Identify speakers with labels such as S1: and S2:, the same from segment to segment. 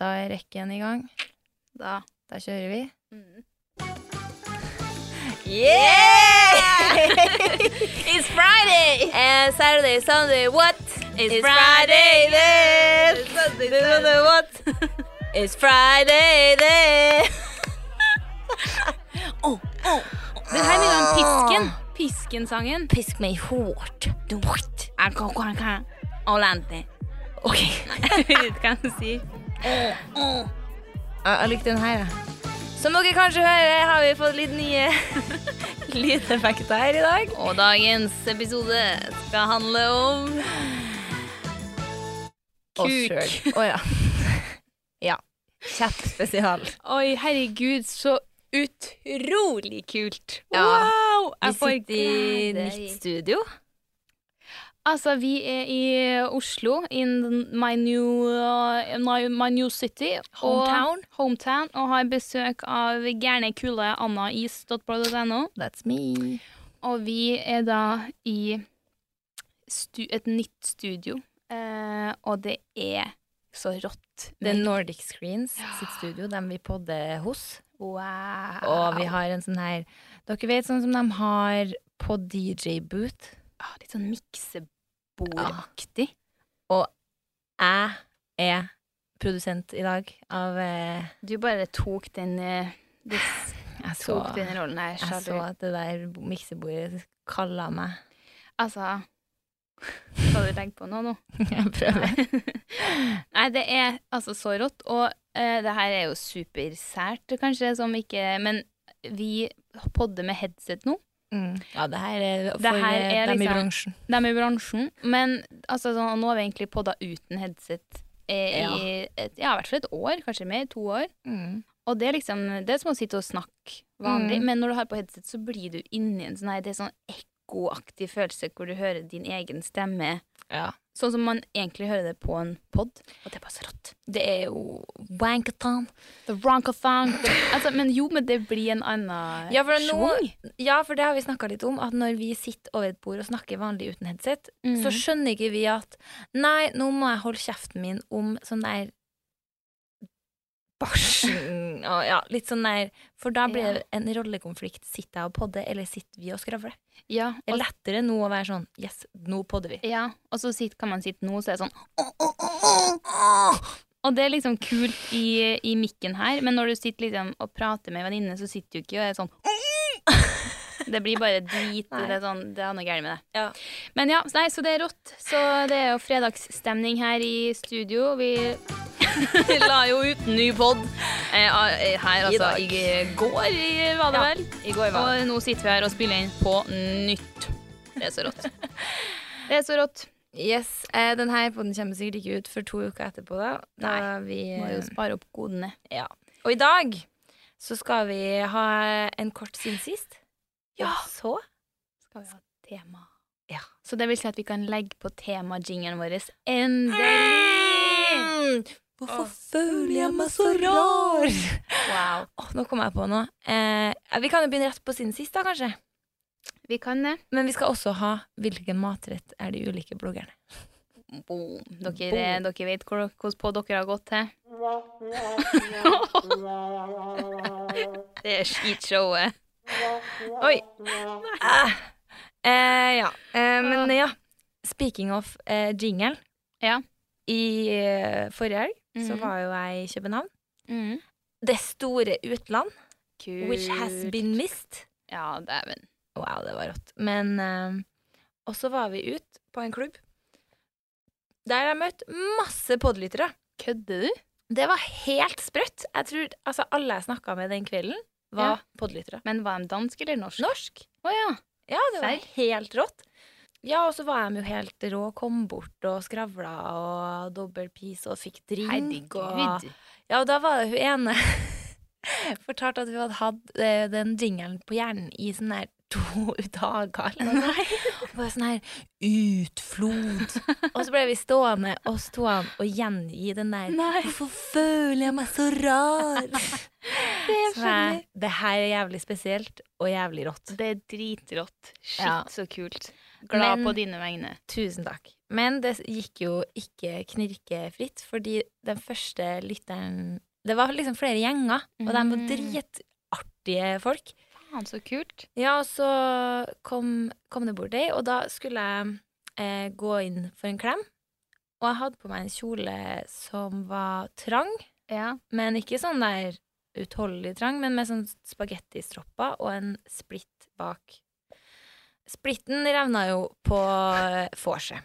S1: Da er rekken i gang.
S2: Da.
S1: Da kjører vi.
S2: Mm.
S3: Yeah!
S2: It's Friday!
S3: And Saturday, Sunday, what?
S2: It's
S3: Friday then! Sunday, what? It's Friday then!
S2: Oh, Det her minner om Pisken. Pisken-sangen.
S3: Ah.
S2: Ah,
S3: Pisk meg hardt. What?
S2: Olante.
S3: Ok.
S2: Jeg vet ikke hva han sier.
S1: Jeg, jeg likte den her, jeg.
S3: Som dere kanskje hører, har vi fått litt nye lydeffekter her i dag.
S2: Og dagens episode skal handle om Kuk.
S1: Oss selv. Å ja. ja. Kjapp spesial.
S2: Oi, herregud, så utrolig kult.
S1: Ja.
S2: Wow!
S1: Vi
S2: Jeg får
S1: sitter i
S2: glede i-
S1: nytt studio.
S2: Altså, vi er i Oslo, in my new, uh, my, my new city.
S1: Hometown.
S2: Og, hometown, og har besøk av gærne, kule Anna Is.blog.no.
S1: That's me.
S2: Og vi er da i stu, et nytt studio, eh, og det er så rått.
S1: Det er
S2: Men-
S1: Nordic Screens sitt studio, dem vi podder hos.
S2: wow.
S1: Og vi har en sånn her Dere vet sånn som de har på DJ-boot?
S2: Ah, litt sånn miksebordaktig.
S1: Jeg er produsent i dag av eh,
S2: Du bare tok den, eh, du
S1: Jeg så,
S2: tok den rollen her.
S1: jeg så
S2: sjalu.
S1: at det der miksebordet kalla meg.
S2: Altså Skal du legge på noe nå?
S1: Jeg prøver.
S2: Nei, det er altså så rått. Og eh, det her er jo supersært, kanskje, som ikke Men vi podder med headset nå.
S1: Mm. Ja, det her er for
S2: Det her
S1: eh,
S2: er
S1: dem i
S2: liksom-
S1: bransjen.
S2: De er i bransjen. Men altså, sånn, nå har vi egentlig podda uten headset eh,
S1: Ja.
S2: i et, ja, i hvert fall et år, kanskje mer. To år.
S1: Mm.
S2: Og det er liksom Det er som å sitte og snakke vanlig,
S1: Mm.
S2: men når du har på headset, så blir du inni en sånn her Det er sånn ekkoaktig følelse hvor du hører din egen stemme.
S1: Ja.
S2: Sånn som man egentlig hører det på en pod, og det er bare så rått.
S1: Det er jo wankathon.
S2: The Ronkathon. Altså, men jo, men det blir en annen
S1: Ja, for nå-
S2: schwung.
S1: Ja, for det har vi snakka litt om, at når vi sitter over et bord og snakker vanlig uten headset,
S2: Mm.
S1: så skjønner ikke vi at Nei, nå må jeg holde kjeften min om sånn der Bæsjen og ja, litt sånn der For da blir
S2: Ja.
S1: det en rollekonflikt. Sitter jeg og podder, eller sitter vi og skravler?
S2: ja,
S1: Det er
S2: og,
S1: lettere nå å være sånn Yes, nå podder vi.
S2: ja, og så sitt, kan man sitte nå, så er det sånn Og det er liksom kult i, i mikken her, men når du sitter liksom og prater med en venninne, så sitter du ikke og er sånn Det blir bare drit. og
S1: Nei.
S2: Det er, sånn, det er noe gærent med det.
S1: Ja.
S2: Men ja, nei, så det er rått. Så det er jo fredagsstemning her i studio. Vi la jo ut ny pod eh, a- eh, her,
S3: I
S2: altså.
S3: dag.
S2: I, går i- var det
S3: Ja,
S2: vel?
S3: I går var
S2: Og nå sitter vi her og spiller inn på nytt. Det er så rått. Det er så rått.
S1: Yes, eh, den her podden kommer sikkert ikke ut før to uker etterpå, da. da vi,
S2: Må jo spare opp godene.
S1: ja. Og i dag så skal vi ha en kort siden sist.
S2: Ja.
S1: Og så
S2: Skal vi ha tema?
S1: Ja.
S2: Så det vil si at vi kan legge på tema-jingeren vår endelig!
S1: Mm. Hvorfor føler jeg meg så rar?
S2: Wow.
S1: Åh, nå kom jeg på noe. Eh, vi kan jo begynne rett på siden sist, da, kanskje.
S2: Vi kan det.
S1: Men vi skal også ha hvilken matrett er de ulike bloggerne.
S2: Boom. Dere,
S1: Boom.
S2: dere vet hvor- hvordan på dere har gått til. det er skitshowet.
S1: Oi! Eh, eh, ja. Eh, men ja. Speaking of eh, jingle.
S2: Ja.
S1: I eh, forrige helg så
S2: Mhm.
S1: var jo jeg i København.
S2: Mm.
S1: Det store utland,
S2: Kult.
S1: which has been missed.
S2: Ja, dæven.
S1: Wow, det var rått. Men eh, Og så var vi ut på en klubb der jeg møtte masse podlyttere.
S2: Kødder du?
S1: Det var helt sprøtt. Jeg tror altså, alle jeg snakka med den kvelden, var
S2: Ja.
S1: podlyttere.
S2: Men var de dansk eller norsk?
S1: Norsk.
S2: Å ja.
S1: Ja, det var
S2: Serr?
S1: helt rått. Ja, og så var de jo helt rå, kom bort og skravla og dobbel pis og fikk drink og
S2: Herregud.
S1: Ja, og da var det hun ene fortalte at hun hadde hatt eh, den jingelen på hjernen i sånn der to dager. Eller noe sånt. Og bare sånn her utflod. og så ble vi stående, oss to, og gjengi den der
S2: Nei.
S1: Hvorfor føler jeg meg så rar?
S2: Det er
S1: Så jeg, det her er jævlig spesielt og jævlig rått.
S2: Det er dritrått. Shit,
S1: Ja.
S2: så kult. Glad
S1: Men-
S2: på dine vegne.
S1: Tusen takk. Men det gikk jo ikke knirkefritt, fordi den første lytteren Det var liksom flere gjenger, og de var
S2: Mm.
S1: dritartige folk.
S2: Faen, så kult.
S1: Ja, og så kom, kom det bort ei, og da skulle jeg eh, gå inn for en klem. Og jeg hadde på meg en kjole som var trang,
S2: Ja.
S1: men ikke sånn der utholdelig trang, men med sånn spagettistropper og en splitt bak. Splitten revna jo på eh, vorset.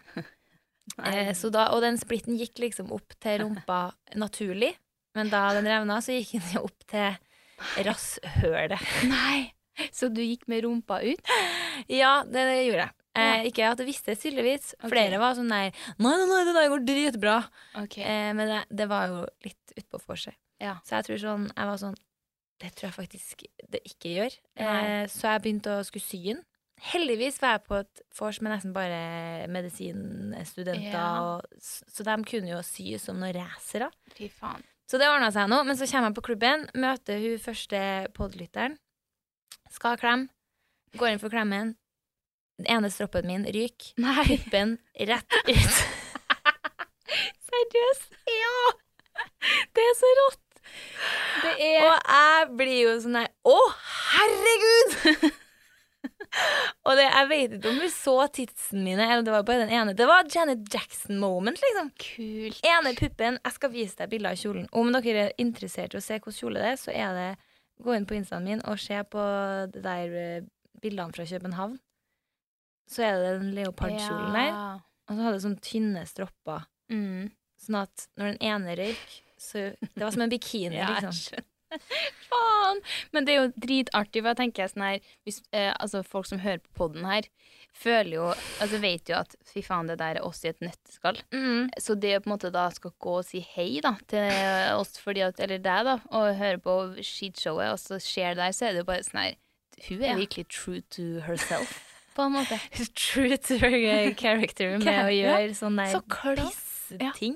S1: Eh, så da- og den splitten gikk liksom opp til rumpa naturlig, men da den revna, så gikk den jo opp til rasshølet.
S2: Nei! Så du gikk med rumpa ut?
S1: Ja, det, det gjorde jeg. Eh, ikke at jeg visste det, tydeligvis.
S2: Ok.
S1: Flere var sånn der Nei, nei, nei, det der går dritbra.
S2: Ok.
S1: Eh, men det, det var jo litt utpå for seg.
S2: Ja.
S1: Så jeg tror sånn Jeg var sånn Det tror jeg faktisk det ikke gjør. Eh,
S2: Nei.
S1: så jeg begynte å skulle sy den. Heldigvis var jeg på et vors med nesten bare medisinstudenter,
S2: Ja.
S1: og, s- så de kunne jo sy som noen racere.
S2: Fy faen.
S1: Så det ordna seg nå. Men så kommer jeg på klubben, møter hun første podlytteren. Skal ha klem. Går inn for klemmen. Den ene stroppen min ryker.
S2: Nei.
S1: Puppen rett ut.
S2: Seriøst? Ja! Det er så rått. Det er
S1: Og jeg blir jo sånn her Å, herregud! Og det, jeg vet ikke om hun så titsen mine, eller det var bare den ene. Det var Janet Jackson-moment, liksom.
S2: kult.
S1: Ene puppen. Jeg skal vise deg bilder av kjolen. Om dere er interessert i å se hvordan kjole det er, så er det Gå inn på instaen min og se på det der eh, bildene fra København. Så er det den leopardkjolen der.
S2: Ja.
S1: Og så hadde det sånn tynne stropper.
S2: Mm.
S1: Sånn at når den ene røyk, så Det var som en bikini,
S2: Ja, jeg
S1: liksom.
S2: Faen! Men det er jo dritartig, for jeg tenker sånn her hvis, eh, Altså, folk som hører på podden her, føler jo Altså, vet jo at fy faen, det der er oss i et nøtteskall.
S1: Mm.
S2: Så det å på en måte da skal gå og si hei da til oss, fordi at, eller deg, da, og høre på skishowet, og så skjer det der, så er det jo bare sånn her Hun
S1: Ja.
S2: er virkelig true to herself, på en måte.
S1: True to her character med å
S2: Ja.
S1: gjøre sånn sånne
S2: Så klart.
S1: piss-ting.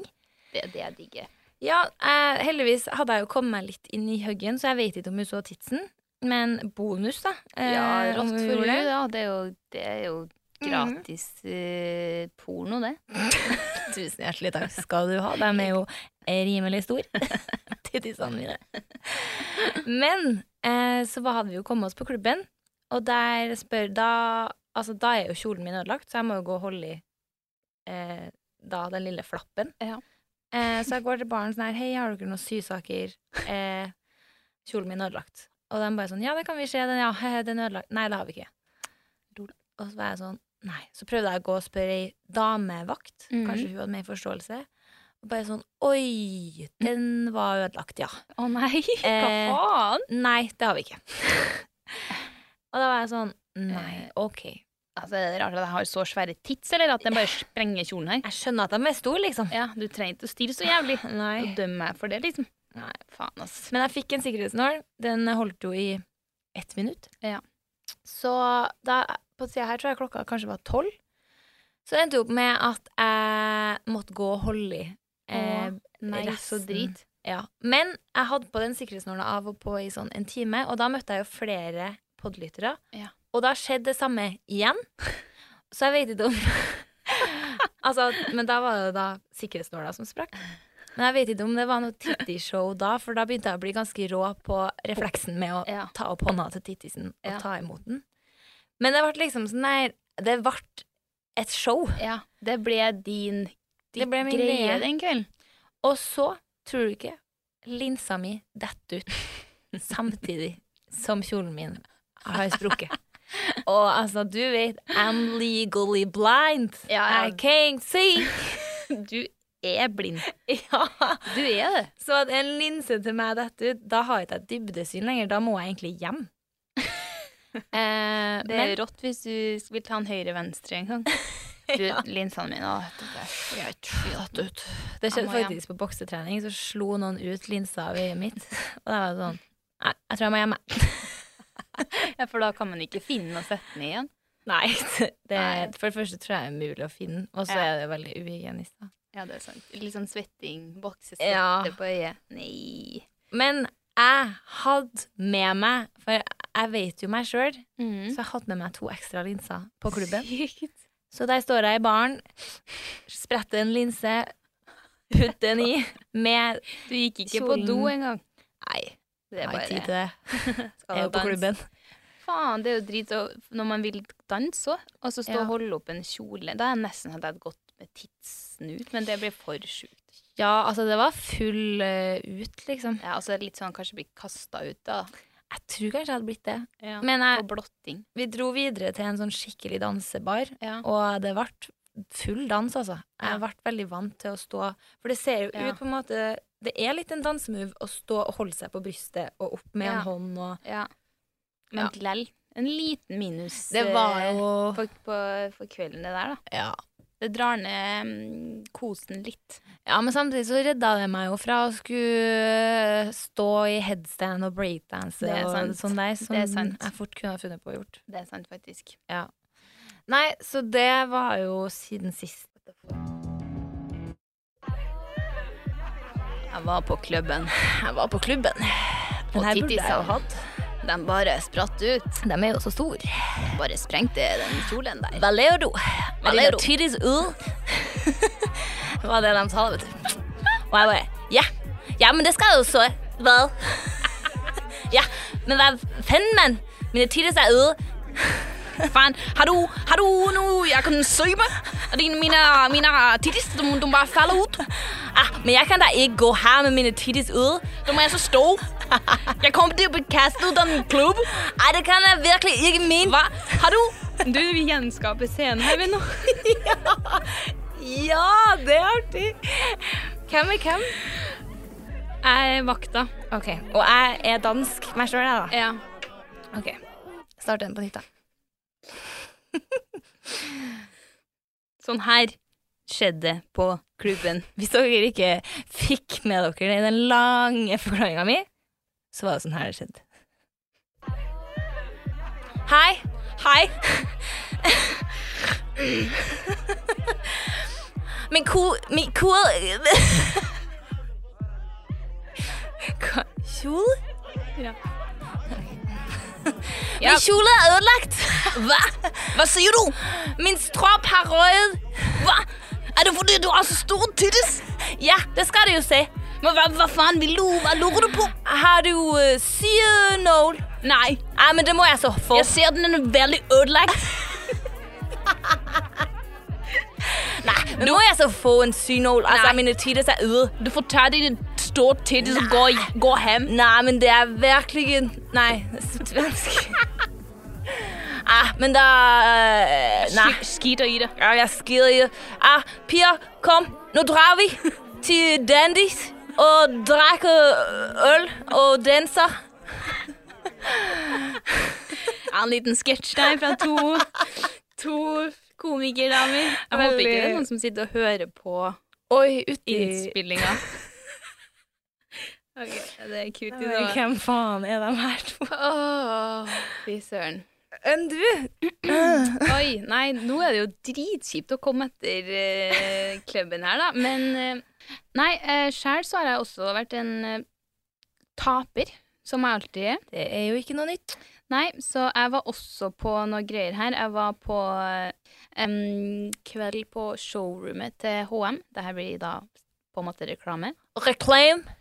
S2: Det er det jeg digger.
S1: Ja, eh, heldigvis hadde jeg jo kommet meg litt inn i huggen, så jeg vet ikke om hun så titsen. Men bonus, da. eh,
S2: Ja,
S1: om
S2: rått
S1: hun
S2: for
S1: gjorde
S2: hun,
S1: det.
S2: da. Det Mhm. er jo, det er jo gratis eh, porno, det.
S1: Tusen hjertelig takk skal du ha. De er jo rimelig store, tittisene mine. Men eh, så hva hadde vi jo kommet oss på klubben, og der spør da Altså, da er jo kjolen min ødelagt, så jeg må jo gå og holde i eh, da den lille flappen.
S2: Ja.
S1: Eh, så jeg går til baren sånn her Hei, har dere noen sysaker? Eh, kjolen min er ødelagt. Og de bare sånn Ja, det kan vi se. Den, ja, den er ødelagt. Nei, det har vi ikke.
S2: Lol.
S1: Og så var jeg sånn Nei. Så prøvde jeg å gå og spørre ei damevakt.
S2: Mhm.
S1: Kanskje hun hadde mer forståelse. Og bare sånn Oi, den var ødelagt, ja.
S2: Å nei, hva
S1: Eh,
S2: faen?
S1: Nei, det har vi ikke. og da var jeg sånn Nei,
S2: Eh.
S1: OK.
S2: Altså, det er rart at jeg har så svære tits, eller at den bare sprenger kjolen her.
S1: Jeg skjønner at de er store, liksom.
S2: Ja, du trenger ikke å stille så jævlig.
S1: Nei.
S2: Og dømme meg for det, liksom.
S1: Nei.
S2: Faen, ass.
S1: Men jeg fikk en sikkerhetsnål. Den holdt jo i ett minutt.
S2: Ja.
S1: Så da, på sida her tror jeg klokka kanskje var tolv. Så det endte jo opp med at jeg måtte gå og holde i. Eh,
S2: Nei, så
S1: resten.
S2: drit.
S1: ja. Men jeg hadde på den sikkerhetsnåla av og på i sånn en time, og da møtte jeg jo flere podlyttere.
S2: Ja.
S1: Og da skjedde det samme igjen. Så jeg vet ikke om Altså, men da var det da sikkerhetsnåla som sprakk. Men jeg vet ikke om det var noe tittishow da, for da begynte jeg å bli ganske rå på refleksen med å
S2: Ja.
S1: ta opp hånda til tittisen og
S2: Ja.
S1: ta imot den. Men det ble liksom sånn der Det ble et show.
S2: Ja, det ble din
S1: Det ble min
S2: greie
S1: greie.
S2: den kvelden.
S1: Og så, tror du ikke, linsa mi detter ut samtidig som kjolen min har sprukket. Og altså, du vet, I'm legally blind.
S2: Ja, ja.
S1: I can't see.
S2: Du er blind.
S1: Ja.
S2: Du er det.
S1: Så at en linse til meg detter ut, da har jeg ikke dybdesyn lenger. Da må jeg egentlig hjem. eh,
S2: Det er rått hvis du vil ta en høyre-venstre en gang. Du, linsene mine å, vet du, det er helt fjollete ut.
S1: Det skjedde
S2: Jeg må hjem.
S1: faktisk på boksetrening, så slo noen ut linsa av øyet mitt. Og da var det sånn Nei, jeg tror jeg må hjem. jeg».
S2: Ja, for da kan man ikke finne og sette den igjen.
S1: Nei, det,
S2: Nei.
S1: For det første tror jeg det er umulig å finne den, og så
S2: Ja.
S1: er det veldig uhygienisk. da.
S2: Ja, det er sant. Litt sånn svetting, boksesvette
S1: Ja.
S2: på øyet. Nei.
S1: Men jeg hadde med Mm. meg, for jeg vet jo meg sjøl, så jeg hadde med meg to ekstra linser på klubben.
S2: Mm. Sykt.
S1: Så der står jeg i baren, spretter en linse, putter den i med
S2: Du gikk ikke
S1: Kjolen.
S2: på do engang.
S1: Nei,
S2: Det
S1: jeg
S2: er
S1: har ikke tid til
S2: bare
S1: det.
S2: skal
S1: Jeg er jo på
S2: danse.
S1: klubben.
S2: Faen, det er jo drit å- når man vil danse òg, og så stå
S1: Ja.
S2: og holde opp en kjole. Da er jeg nesten hadde jeg gått med tidssnut, men det blir for sjukt.
S1: Ja, altså, det var full eh, ut, liksom.
S2: Ja, altså litt sånn kanskje bli kasta ut, da. eh,
S1: Jeg tror kanskje jeg hadde blitt det.
S2: Ja.
S1: Men jeg,
S2: og blotting.
S1: vi dro videre til en sånn skikkelig dansebar,
S2: Ja.
S1: og det ble full dans, altså. Jeg
S2: Ja.
S1: ble veldig vant til å stå For det ser jo
S2: Ja.
S1: ut på en måte Det er litt en dansemove å stå og holde seg på brystet og opp med
S2: Ja.
S1: en hånd og
S2: Ja. Men
S1: Ja.
S2: lell, en liten minus
S1: Det var
S2: eh,
S1: jo
S2: på, på, for kvelden, det der, da.
S1: Ja.
S2: Det drar ned mm, kosen litt.
S1: Ja, men samtidig så redda det meg jo fra å skulle stå i headstand og breakdance
S2: Det er
S1: og
S2: sant.
S1: sånn der, som
S2: Det er sant.
S1: jeg fort kunne ha funnet på å gjort.
S2: Det er sant, faktisk.
S1: Nei, så det var jo siden sist.
S2: Jeg var på klubben,
S1: Jeg var på klubben. Den
S2: og
S1: her burde jeg
S2: tittisene
S1: jo hatt.
S2: De bare spratt ut.
S1: De er jo så store.
S2: Bare sprengte den kjolen der.
S1: Valero.
S2: Valero.
S1: Titties ul. Det var det de sa, vet du. Og jeg bare Ja, ja men det skal jeg jo så. Vel. Ja, men hva faen, mann? Mine titties er ul.
S2: Fan, har du, har du noe jeg kan søke med? Din, mine, mine tittis, de, de bare faller ut.
S1: Ah, men jeg kan da ikke gå her med mine titties ude.
S2: De er så store. Jeg kommer til å bli kastet ut av en klubb.
S1: Ej, det kan jeg virkelig ikke mene.
S2: Hva? Har du? Du, vi gjenskaper scenen her, vi nå.
S1: Ja, det er artig. Hvem er hvem?
S2: Jeg er vakta.
S1: Ok, og jeg er dansk. Hva står det da?
S2: Ja.
S1: Ok, start den på nytt da.
S2: Sånn her skjedde på klubben.
S1: Hvis dere ikke fikk med dere det i den lange forklaringen min, så var det sånn her det skjedde. Hei. Hei. Min ko... Min ko... Hva- Kjole?
S2: Ja.
S1: Min kjole er ødelagt. Hva? Hva sier du? Min stropp er rød. Hva? Er det fordi du har så stor tittis? Ja, det skal det jo si.
S2: Men hva, hva faen vil du? Hva lurer du på?
S1: Har du uh, syrenål?
S2: Nei,
S1: Nei, men det må jeg så få.
S2: jeg ser den er veldig ødelagt.
S1: Nei, men må jeg så få en synål? Altså,
S2: Nei.
S1: mine tittis er øde.
S2: Du får ta dine store tittis og gå, gå hjem.
S1: Nei, men det er virkelig ikke- Nei, svensk. Nei, Ah, men da eh, Nei.
S2: Sk- Skiter i det.
S1: Ja, jeg skider i det. Ah, piger, kom. Nu drar vi til Dandys og drikker øl og danser.
S2: Ja, en liten sketsj der fra to, to komikerdamer. Jeg håper ikke det er noen som sitter og hører på
S1: Oi,
S2: innspillinga. Ok, det er cute. i dag.
S1: Hvem faen er de her to?
S2: Åh, fy søren.
S1: Enn du?
S2: Oi, nei, nå er det jo dritkjipt å komme etter eh, klubben her, da. Men eh, nei, uh, sjæl så har jeg også vært en eh, taper, som jeg alltid er.
S1: Det er jo ikke noe nytt.
S2: Nei, så jeg var også på noe greier her. Jeg var på eh, em, kveld på showroomet til HM. Dette blir da på en måte reklame.
S1: Reklame.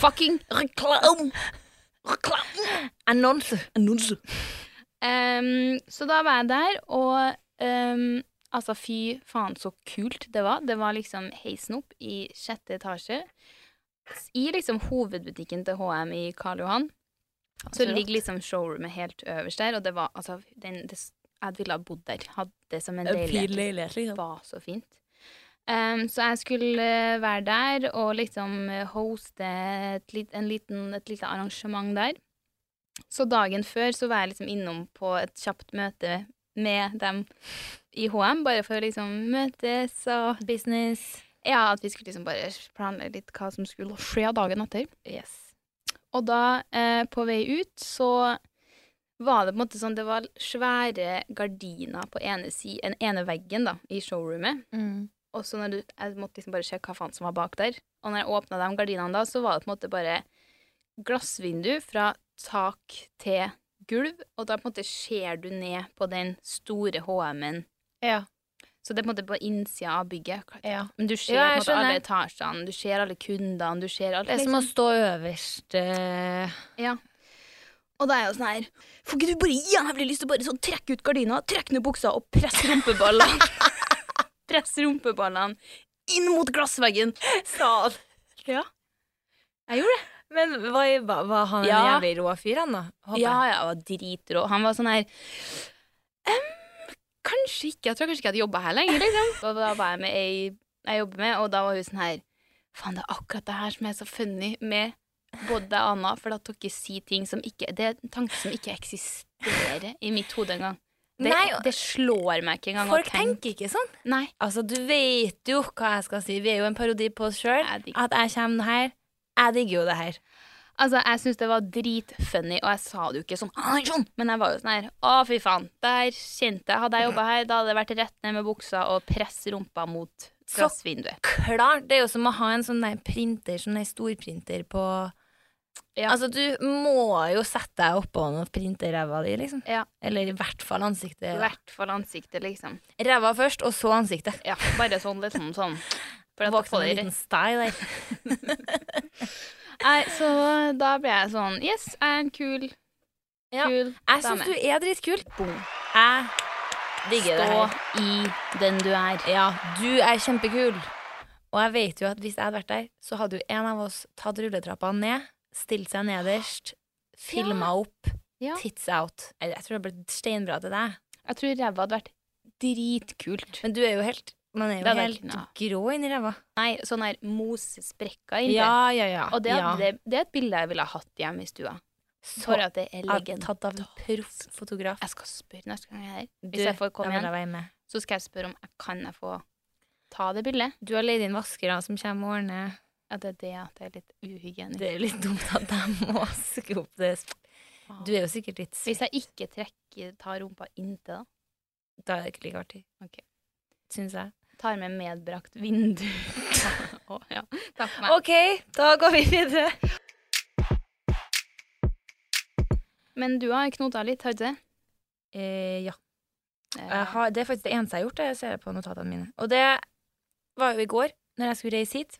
S2: Fucking
S1: Reklame. Reklame. Annonse. Annonse.
S2: Ehm, så da var jeg der, og ehm, altså fy faen så kult det var. Det var liksom heisen opp i sjette etasje. I liksom hovedbutikken til HM i Karl Johan. Så
S1: rått.
S2: ligger liksom showroomet helt øverst der, og det var altså den, det, Jeg ville ha bodd der. Hadde det som en leilighet.
S1: leilighet,
S2: Det
S1: liksom.
S2: var så fint. Ehm, så jeg skulle eh, være der og liksom eh, hoste et, lit, en liten, et lite arrangement der. Så dagen før så var jeg liksom innom på et kjapt møte med dem i HM, bare for å liksom møtes og
S1: Business.
S2: Ja, at vi skulle liksom bare planlegge litt hva som skulle skje dagen etter.
S1: Yes.
S2: Og da, eh, på vei ut, så var det på en måte sånn Det var svære gardiner på ene, si, den ene veggen da, i showroomet. Og så når du, jeg måtte liksom bare sjekke hva faen som var bak der. Og når jeg åpna de gardinene da, så var det på en måte bare glassvindu fra tak til gulv. Og da på en måte ser du ned på den store HM-en.
S1: Ja.
S2: Så det er på en måte på innsida av bygget.
S1: Ja.
S2: Men du ser
S1: Ja,
S2: på en
S1: jeg
S2: måte alle
S1: skjønner.
S2: etasjene, du ser alle kundene, du ser alt.
S1: Det er som å stå øverst eh,
S2: Ja. Og da er jeg jo sånn her Får ikke du bare jævlig lyst til å bare sånn trekke ut gardina, trekke ned buksa og presse rumpeballene Presse rumpeballene inn mot glassveggen. Ja. Jeg gjorde det.
S1: Men var, var, var han
S2: Ja.
S1: en jævlig rå fyr, han da? Håper
S2: Ja,
S1: jeg.
S2: jeg var dritrå. Han var sånn her «Em, Kanskje ikke. Jeg tror kanskje ikke jeg hadde jobba her lenger, liksom. Og da var jeg med ei jeg jobber med, og da var hun sånn her Faen, det er akkurat det her som er så funny med både deg og Anna, for at dere sier ting som ikke Det er en tanke som ikke eksisterer i mitt hode engang. Det,
S1: Nei, og-
S2: det slår meg ikke engang. å
S1: Folk
S2: tenke-
S1: tenker ikke sånn.
S2: Nei.
S1: Altså, du vet jo hva jeg skal si. Vi er jo en parodi på oss sjøl.
S2: Jeg digger-
S1: At jeg kommer her. Jeg digger jo det her.
S2: Altså, jeg syns det var dritfunny, og jeg sa det jo ikke sånn, «Ai, sånn, men jeg var jo sånn her Å, fy faen. Der kjente jeg Hadde jeg jobba her, da hadde det vært rett ned med buksa og press rumpa mot
S1: Så-
S2: glassvinduet.
S1: Klart! Det er jo som å ha en sånn der printer, sånn der storprinter på
S2: Ja.
S1: Altså, du må jo sette deg oppå noen printerræva di, liksom.
S2: Ja.
S1: Eller i hvert fall ansiktet.
S2: I hvert fall ansiktet, liksom.
S1: Ræva først, og så ansiktet.
S2: Ja, bare sånn, litt sånn, sånn. For at
S1: Våkne
S2: få
S1: med en
S2: det
S1: liten style der.
S2: rett. Nei, så da ble jeg sånn Yes, jeg er en kul,
S1: Ja.
S2: kul
S1: Jeg
S2: dame.
S1: syns du er dritkul.
S2: Boom.
S1: Jeg digger det
S2: Stå
S1: her.
S2: i den du er.
S1: Ja, du er kjempekul. Og jeg vet jo at hvis jeg hadde vært der, så hadde jo en av oss tatt rulletrappa ned, stilt seg nederst, filma opp,
S2: Ja.
S1: tits out. Jeg jeg tror det ble steinbra til deg.
S2: Jeg tror ræva hadde vært dritkult.
S1: Men du er jo helt Man er jo
S2: Det hadde
S1: helt
S2: vært- ja.
S1: grå inni ræva.
S2: Nei, sånn her mosesprekker inni der.
S1: Ja, ja, ja.
S2: Og det,
S1: ja.
S2: det, det er et bilde jeg ville ha hatt hjemme i stua.
S1: Så
S2: For at det er
S1: at-
S2: legend.
S1: tatt av en proff fotograf.
S2: Jeg skal spørre neste gang jeg er her.
S1: Du,
S2: Hvis jeg får
S1: da
S2: komme
S1: vil
S2: igjen,
S1: jeg være med.
S2: så skal jeg spørre om jeg kan jeg få ta det bildet.
S1: Du har leid inn vaskere som kommer og ordner
S2: At det er det at det er litt uhygienisk.
S1: Det er jo litt dumt at de må skru opp det Du er jo sikkert litt
S2: Hvis jeg ikke trekker, tar rumpa inntil, da.
S1: Da er det ikke like artig.
S2: Ok.
S1: Syns jeg.
S2: Tar med medbrakt vindu. Å, ja. Takk for meg.
S1: OK, da går vi videre.
S2: Men du har knota litt, har du ikke det?
S1: Eh, ja.
S2: Eh,
S1: Jeg har, det er faktisk det eneste jeg har gjort. Det jeg ser det på notatene mine. Og det var jo i går, når jeg skulle reise hit.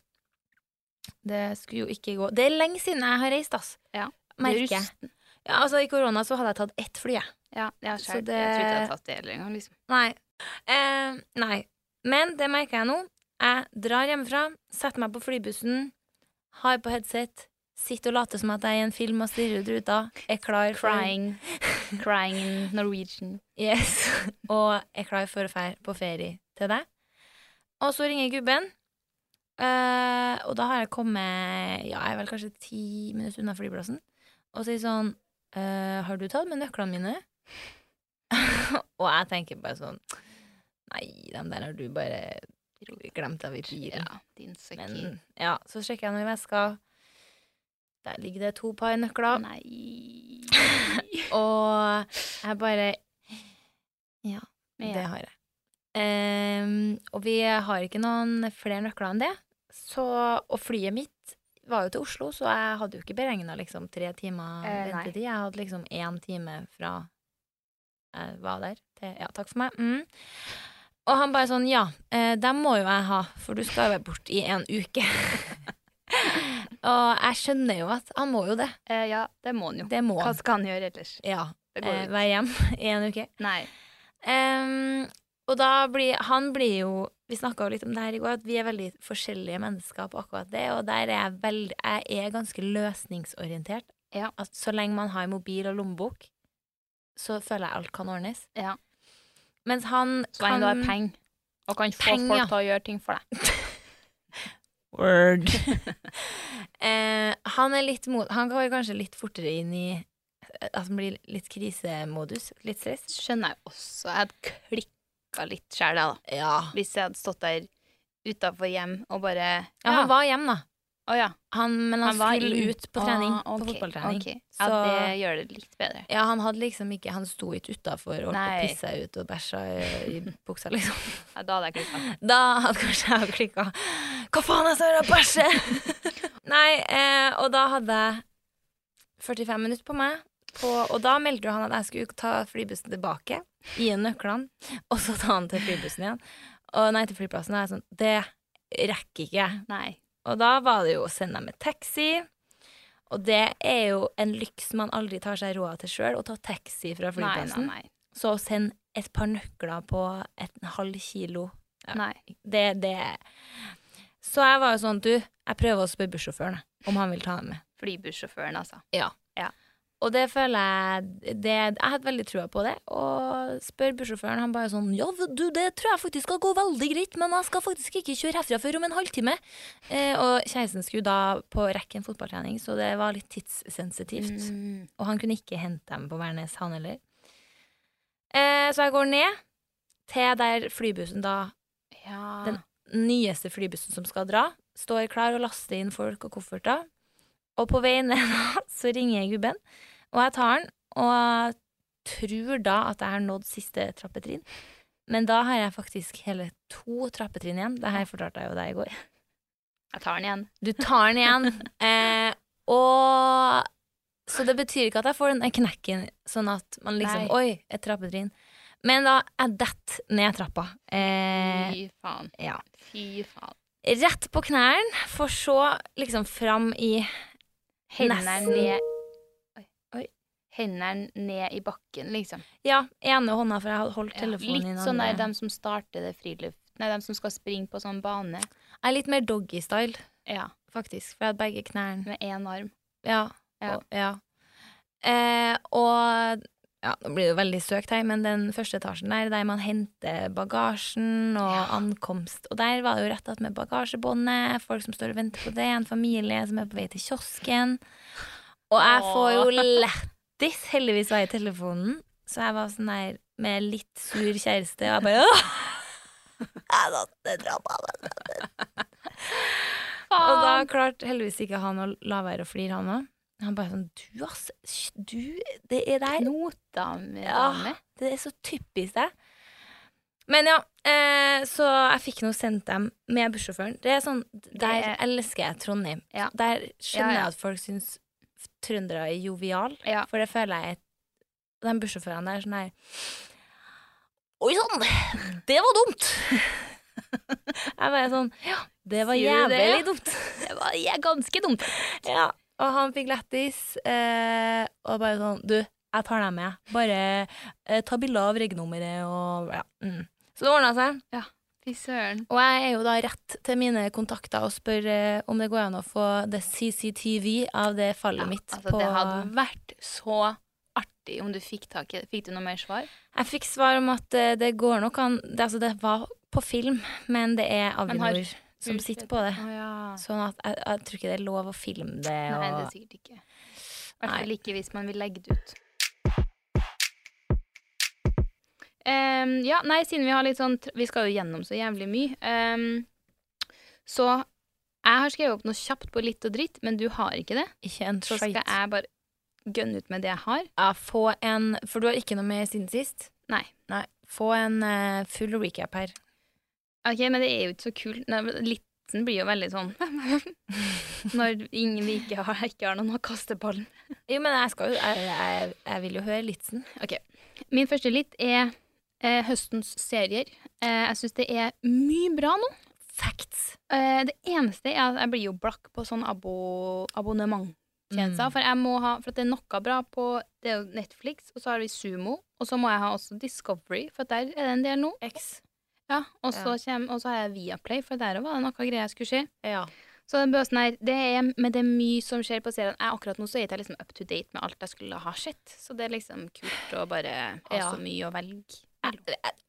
S1: Det skulle jo ikke gå Det er lenge siden jeg har reist, ass.
S2: Ja.
S1: Merker jeg.
S2: rusten.
S1: Ja, altså, I korona så hadde jeg tatt ett fly, jeg.
S2: Ja, jeg har
S1: Så
S2: skjønt.
S1: det-
S2: Jeg tror ikke jeg har tatt det heller engang. Liksom.
S1: Nei. Eh, nei. Men det merker jeg nå. Jeg drar hjemmefra, setter meg på flybussen, har på headset, sitter og later som at jeg er i en film og stirrer ut ruta, er klar for-
S2: Crying. Crying in Norwegian.
S1: Yes. Og er klar for å dra på ferie til deg. Og så ringer gubben, eh, og da har jeg kommet Ja, jeg er vel kanskje ti minutter unna flyplassen. Og sier sånn eh, Har du tatt med nøklene mine? og jeg tenker bare sånn Nei, dem der har du bare glemt av i bilen.
S2: Ja, din søkker.
S1: Men ja, så sjekker jeg noe i veska. Der ligger det to par nøkler.
S2: Nei.
S1: Og jeg bare
S2: Men
S1: Det
S2: ja.
S1: har jeg. Ehm, og vi har ikke noen flere nøkler enn det. Så, og flyet mitt var jo til Oslo, så jeg hadde jo ikke beregna liksom, tre timer
S2: Eh, nei.
S1: ventetid. Jeg hadde liksom én time fra jeg var der til Ja, takk for meg. Mm. Og han bare sånn Ja, eh, dem må jo jeg ha, for du skal jo være borte i en uke. og jeg skjønner jo at han må jo det.
S2: Eh, ja, det må han jo.
S1: Det må
S2: Hva
S1: han.
S2: skal han gjøre ellers?
S1: Ja.
S2: Det går jo
S1: Eh,
S2: ikke.
S1: være hjemme i en uke.
S2: Nei.
S1: Ehm, og da blir han blir jo Vi snakka jo litt om det her i går, at vi er veldig forskjellige mennesker på akkurat det. Og der er jeg veld, Jeg er ganske løsningsorientert.
S2: Ja.
S1: At så lenge man har mobil og lommebok, så føler jeg alt kan ordnes.
S2: Ja.
S1: Mens han
S2: Så lenge du har penger og kan få
S1: Peng,
S2: folk
S1: ja.
S2: til å gjøre ting for deg.
S1: Word. eh, han er litt mot Han går kanskje litt fortere inn i eh, At han blir litt krisemodus. Litt stress.
S2: Skjønner jeg også. Jeg hadde klikka litt sjæl, jeg, da.
S1: Ja.
S2: Hvis jeg hadde stått der utafor hjem og bare
S1: ja han var hjemme, da.
S2: Å ja.
S1: Han, men han,
S2: Han var
S1: skulle
S2: inn.
S1: ut på trening.
S2: Ah, ok,
S1: På fotballtrening.
S2: ok. Ja,
S1: Så-
S2: det gjør det litt bedre.
S1: Ja, han hadde liksom ikke Han sto ikke utafor og holdt på å
S2: Nei.
S1: pisse seg ut og bæsja i, i buksa, liksom.
S2: Ja, da hadde jeg klikka.
S1: Da hadde kanskje jeg klikka. Hva faen, jeg står her og bæsjer! Nei, eh, og da hadde jeg 45 minutter på meg, på, og da meldte jo han at jeg skulle ta flybussen tilbake. Gi ham nøklene, og så ta han til flybussen igjen. Og nei til flyplassen. Og jeg er sånn Det rekker ikke jeg.
S2: Nei.
S1: Og da var det jo å sende dem en taxi. Og det er jo en lyks man aldri tar seg råd til sjøl, å ta taxi fra
S2: Nei, nei,
S1: flyplassen.
S2: nei.
S1: Så å sende et par nøkler på et halv kilo, Ja.
S2: nei.
S1: det, det Så jeg var jo sånn, du, jeg prøver å spørre bussjåføren jeg, om han vil ta dem med.
S2: Flybussjåføren, altså.
S1: Og det føler jeg det, Jeg hadde veldig trua på det. Og spør bussjåføren, han bare sånn Ja, du, det tror jeg faktisk skal gå veldig greit, men jeg skal faktisk ikke kjøre herfra før om en halvtime. Eh, og kjæresten skulle da på rekken fotballtrening, så det var litt tidssensitivt.
S2: Mm.
S1: Og han kunne ikke hente dem på Værnes, han heller. Eh, så jeg går ned til der flybussen da
S2: Ja.
S1: Den- nyeste flybussen som skal dra, står klar og laster inn folk og kofferter. Og på veien ned da, så ringer jeg gubben, og jeg tar den, og tror da at jeg har nådd siste trappetrinn. Men da har jeg faktisk hele to trappetrinn igjen. Det her fortalte jeg jo deg i går.
S2: Jeg tar den igjen.
S1: Du tar den igjen. Eh, og Så det betyr ikke at jeg får den der knekken, sånn at man liksom
S2: Nei.
S1: Oi, et trappetrinn. Men da jeg detter ned trappa. Eh,
S2: Fy faen.
S1: ja
S2: Fy faen.
S1: rett på knærne, for så liksom fram i
S2: Hendene
S1: Nesten.
S2: ned Oi.
S1: Oi.
S2: Hendene ned i bakken, liksom.
S1: Ja, ene hånda, for jeg hadde holdt
S2: Ja,
S1: telefonen i
S2: Litt
S1: den
S2: sånn der
S1: andre.
S2: dem som starter det friluft... Nei, dem som skal springe på sånn bane.
S1: Jeg er litt mer doggy-style,
S2: Ja.
S1: faktisk, for jeg hadde begge knærne.
S2: Med én arm.
S1: Ja.
S2: Ja.
S1: Og, ja. Eh, og ja, nå blir det jo veldig søkt her, men den første etasjen der, der man henter bagasjen og
S2: Ja.
S1: ankomst, og der var det jo rett at med bagasjebåndet, folk som står og venter på det, en familie som er på vei til kiosken, og jeg får jo lettis, heldigvis var jeg i telefonen, så jeg var sånn der med litt sur kjæreste, og jeg bare, «Åh, jeg datt ned trappa, vet du». og da klarte heldigvis ikke han å la være å flire han også. Han bare sånn, du ass, hysj, du, det er der,
S2: Knota med
S1: Ja.
S2: dame.
S1: det er så typisk deg. Men ja, eh, så jeg fikk nå sendt dem med bussjåføren. Det er sånn, Der
S2: er-
S1: elsker jeg Trondheim.
S2: Ja.
S1: Der skjønner
S2: Ja, ja.
S1: jeg at folk syns f- trøndere er jovial,
S2: Ja.
S1: for det føler jeg at de bussjåførene der er sånn her Oi sann, det var dumt! jeg bare sånn Ja, det var
S2: Sier du
S1: jævlig
S2: det, ja?
S1: dumt.
S2: Det var ja, ganske dumt.
S1: Ja, og han fikk lettis eh, Og bare sånn, du, jeg tar deg med Bare eh, ta bilder av regnnummeret og, ja. mm. Så det ordnet seg
S2: Fy søren.
S1: Og jeg er jo da rett til mine kontakter Og spør eh, om det går an å få Det CCTV av det fallet
S2: Ja,
S1: mitt
S2: altså,
S1: på...
S2: Det hadde vært så artig om du fikk tak i det. Fikk du noe mer svar?
S1: Jeg fikk svar om at eh, det går nok an det, altså, det var på film Men det er
S2: Men har
S1: Avinor som
S2: Huset-
S1: sitter på det
S2: Å ja.
S1: Sånn at jeg, jeg tror ikke det er lov å filme det og...
S2: Nei, det er sikkert ikke. I hvert
S1: Nei.
S2: fall ikke hvis man vil legge det ut. Ehm, ja, nei, siden vi har litt sånn tr- Vi skal jo gjennom så jævlig mye. Ehm, så jeg har skrevet opp noe kjapt på litt og dritt, men du har ikke det.
S1: Ikke en
S2: Så skal
S1: skjøyt
S2: jeg bare gønne ut med det jeg har.
S1: Ja, få en For du har ikke noe med siden sist?
S2: Nei.
S1: Nei. Få en eh, full recap her.
S2: Ok, men det er jo ikke så kult. Nei, men Litsen blir jo veldig sånn Når ingen vi ikke har, ikke har noen å kaste ballen
S1: Jo, men jeg skal jo Jeg, jeg, jeg vil jo høre Litzen.
S2: Min første litt er eh, høstens serier. Eh, jeg syns det er mye bra nå.
S1: Facts.
S2: Eh, det eneste er at jeg blir jo blakk på sånn abo abonnementtjenester.
S1: Mm.
S2: For, jeg må ha, for at det er noe bra på det er jo Netflix, og så har vi Sumo. Og så må jeg ha også Discovery, for at der er det en del nå.
S1: X.
S2: Ja, Og så kjem- og så har jeg Viaplay, for der var det noe greier jeg skulle se.
S1: Ja.
S2: Så den bøsen her, det er, men det er mye som skjer på serien. Jeg, akkurat nå så er jeg ikke liksom up to date med alt jeg skulle ha sett. Så det er liksom kult å bare ha
S1: Ja.
S2: så mye å velge.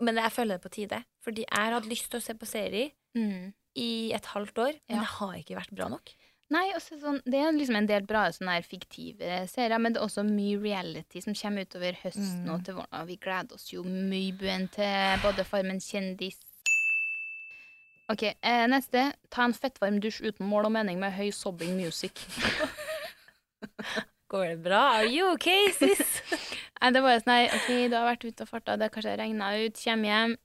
S1: Men jeg føler det på tide. Fordi jeg har hatt lyst til å se på serie
S2: Mm.
S1: i et halvt år, men
S2: Ja.
S1: det har ikke vært bra nok.
S2: Nei, og så sånn, det er liksom en del bra sånne her fiktive serier, men det er også mye reality som kommer utover høsten
S1: Mm.
S2: og til våren. Og vi gleder oss jo mye buen til både Farmen kjendis OK, eh, neste. Ta en fettvarm dusj uten mål og mening med høy sobbing music.
S1: Går det bra? Are you okay, sis?
S2: Nei, det var jo sånn her, ok, du har vært ute og farta, det har kanskje regna ut, kommer hjem,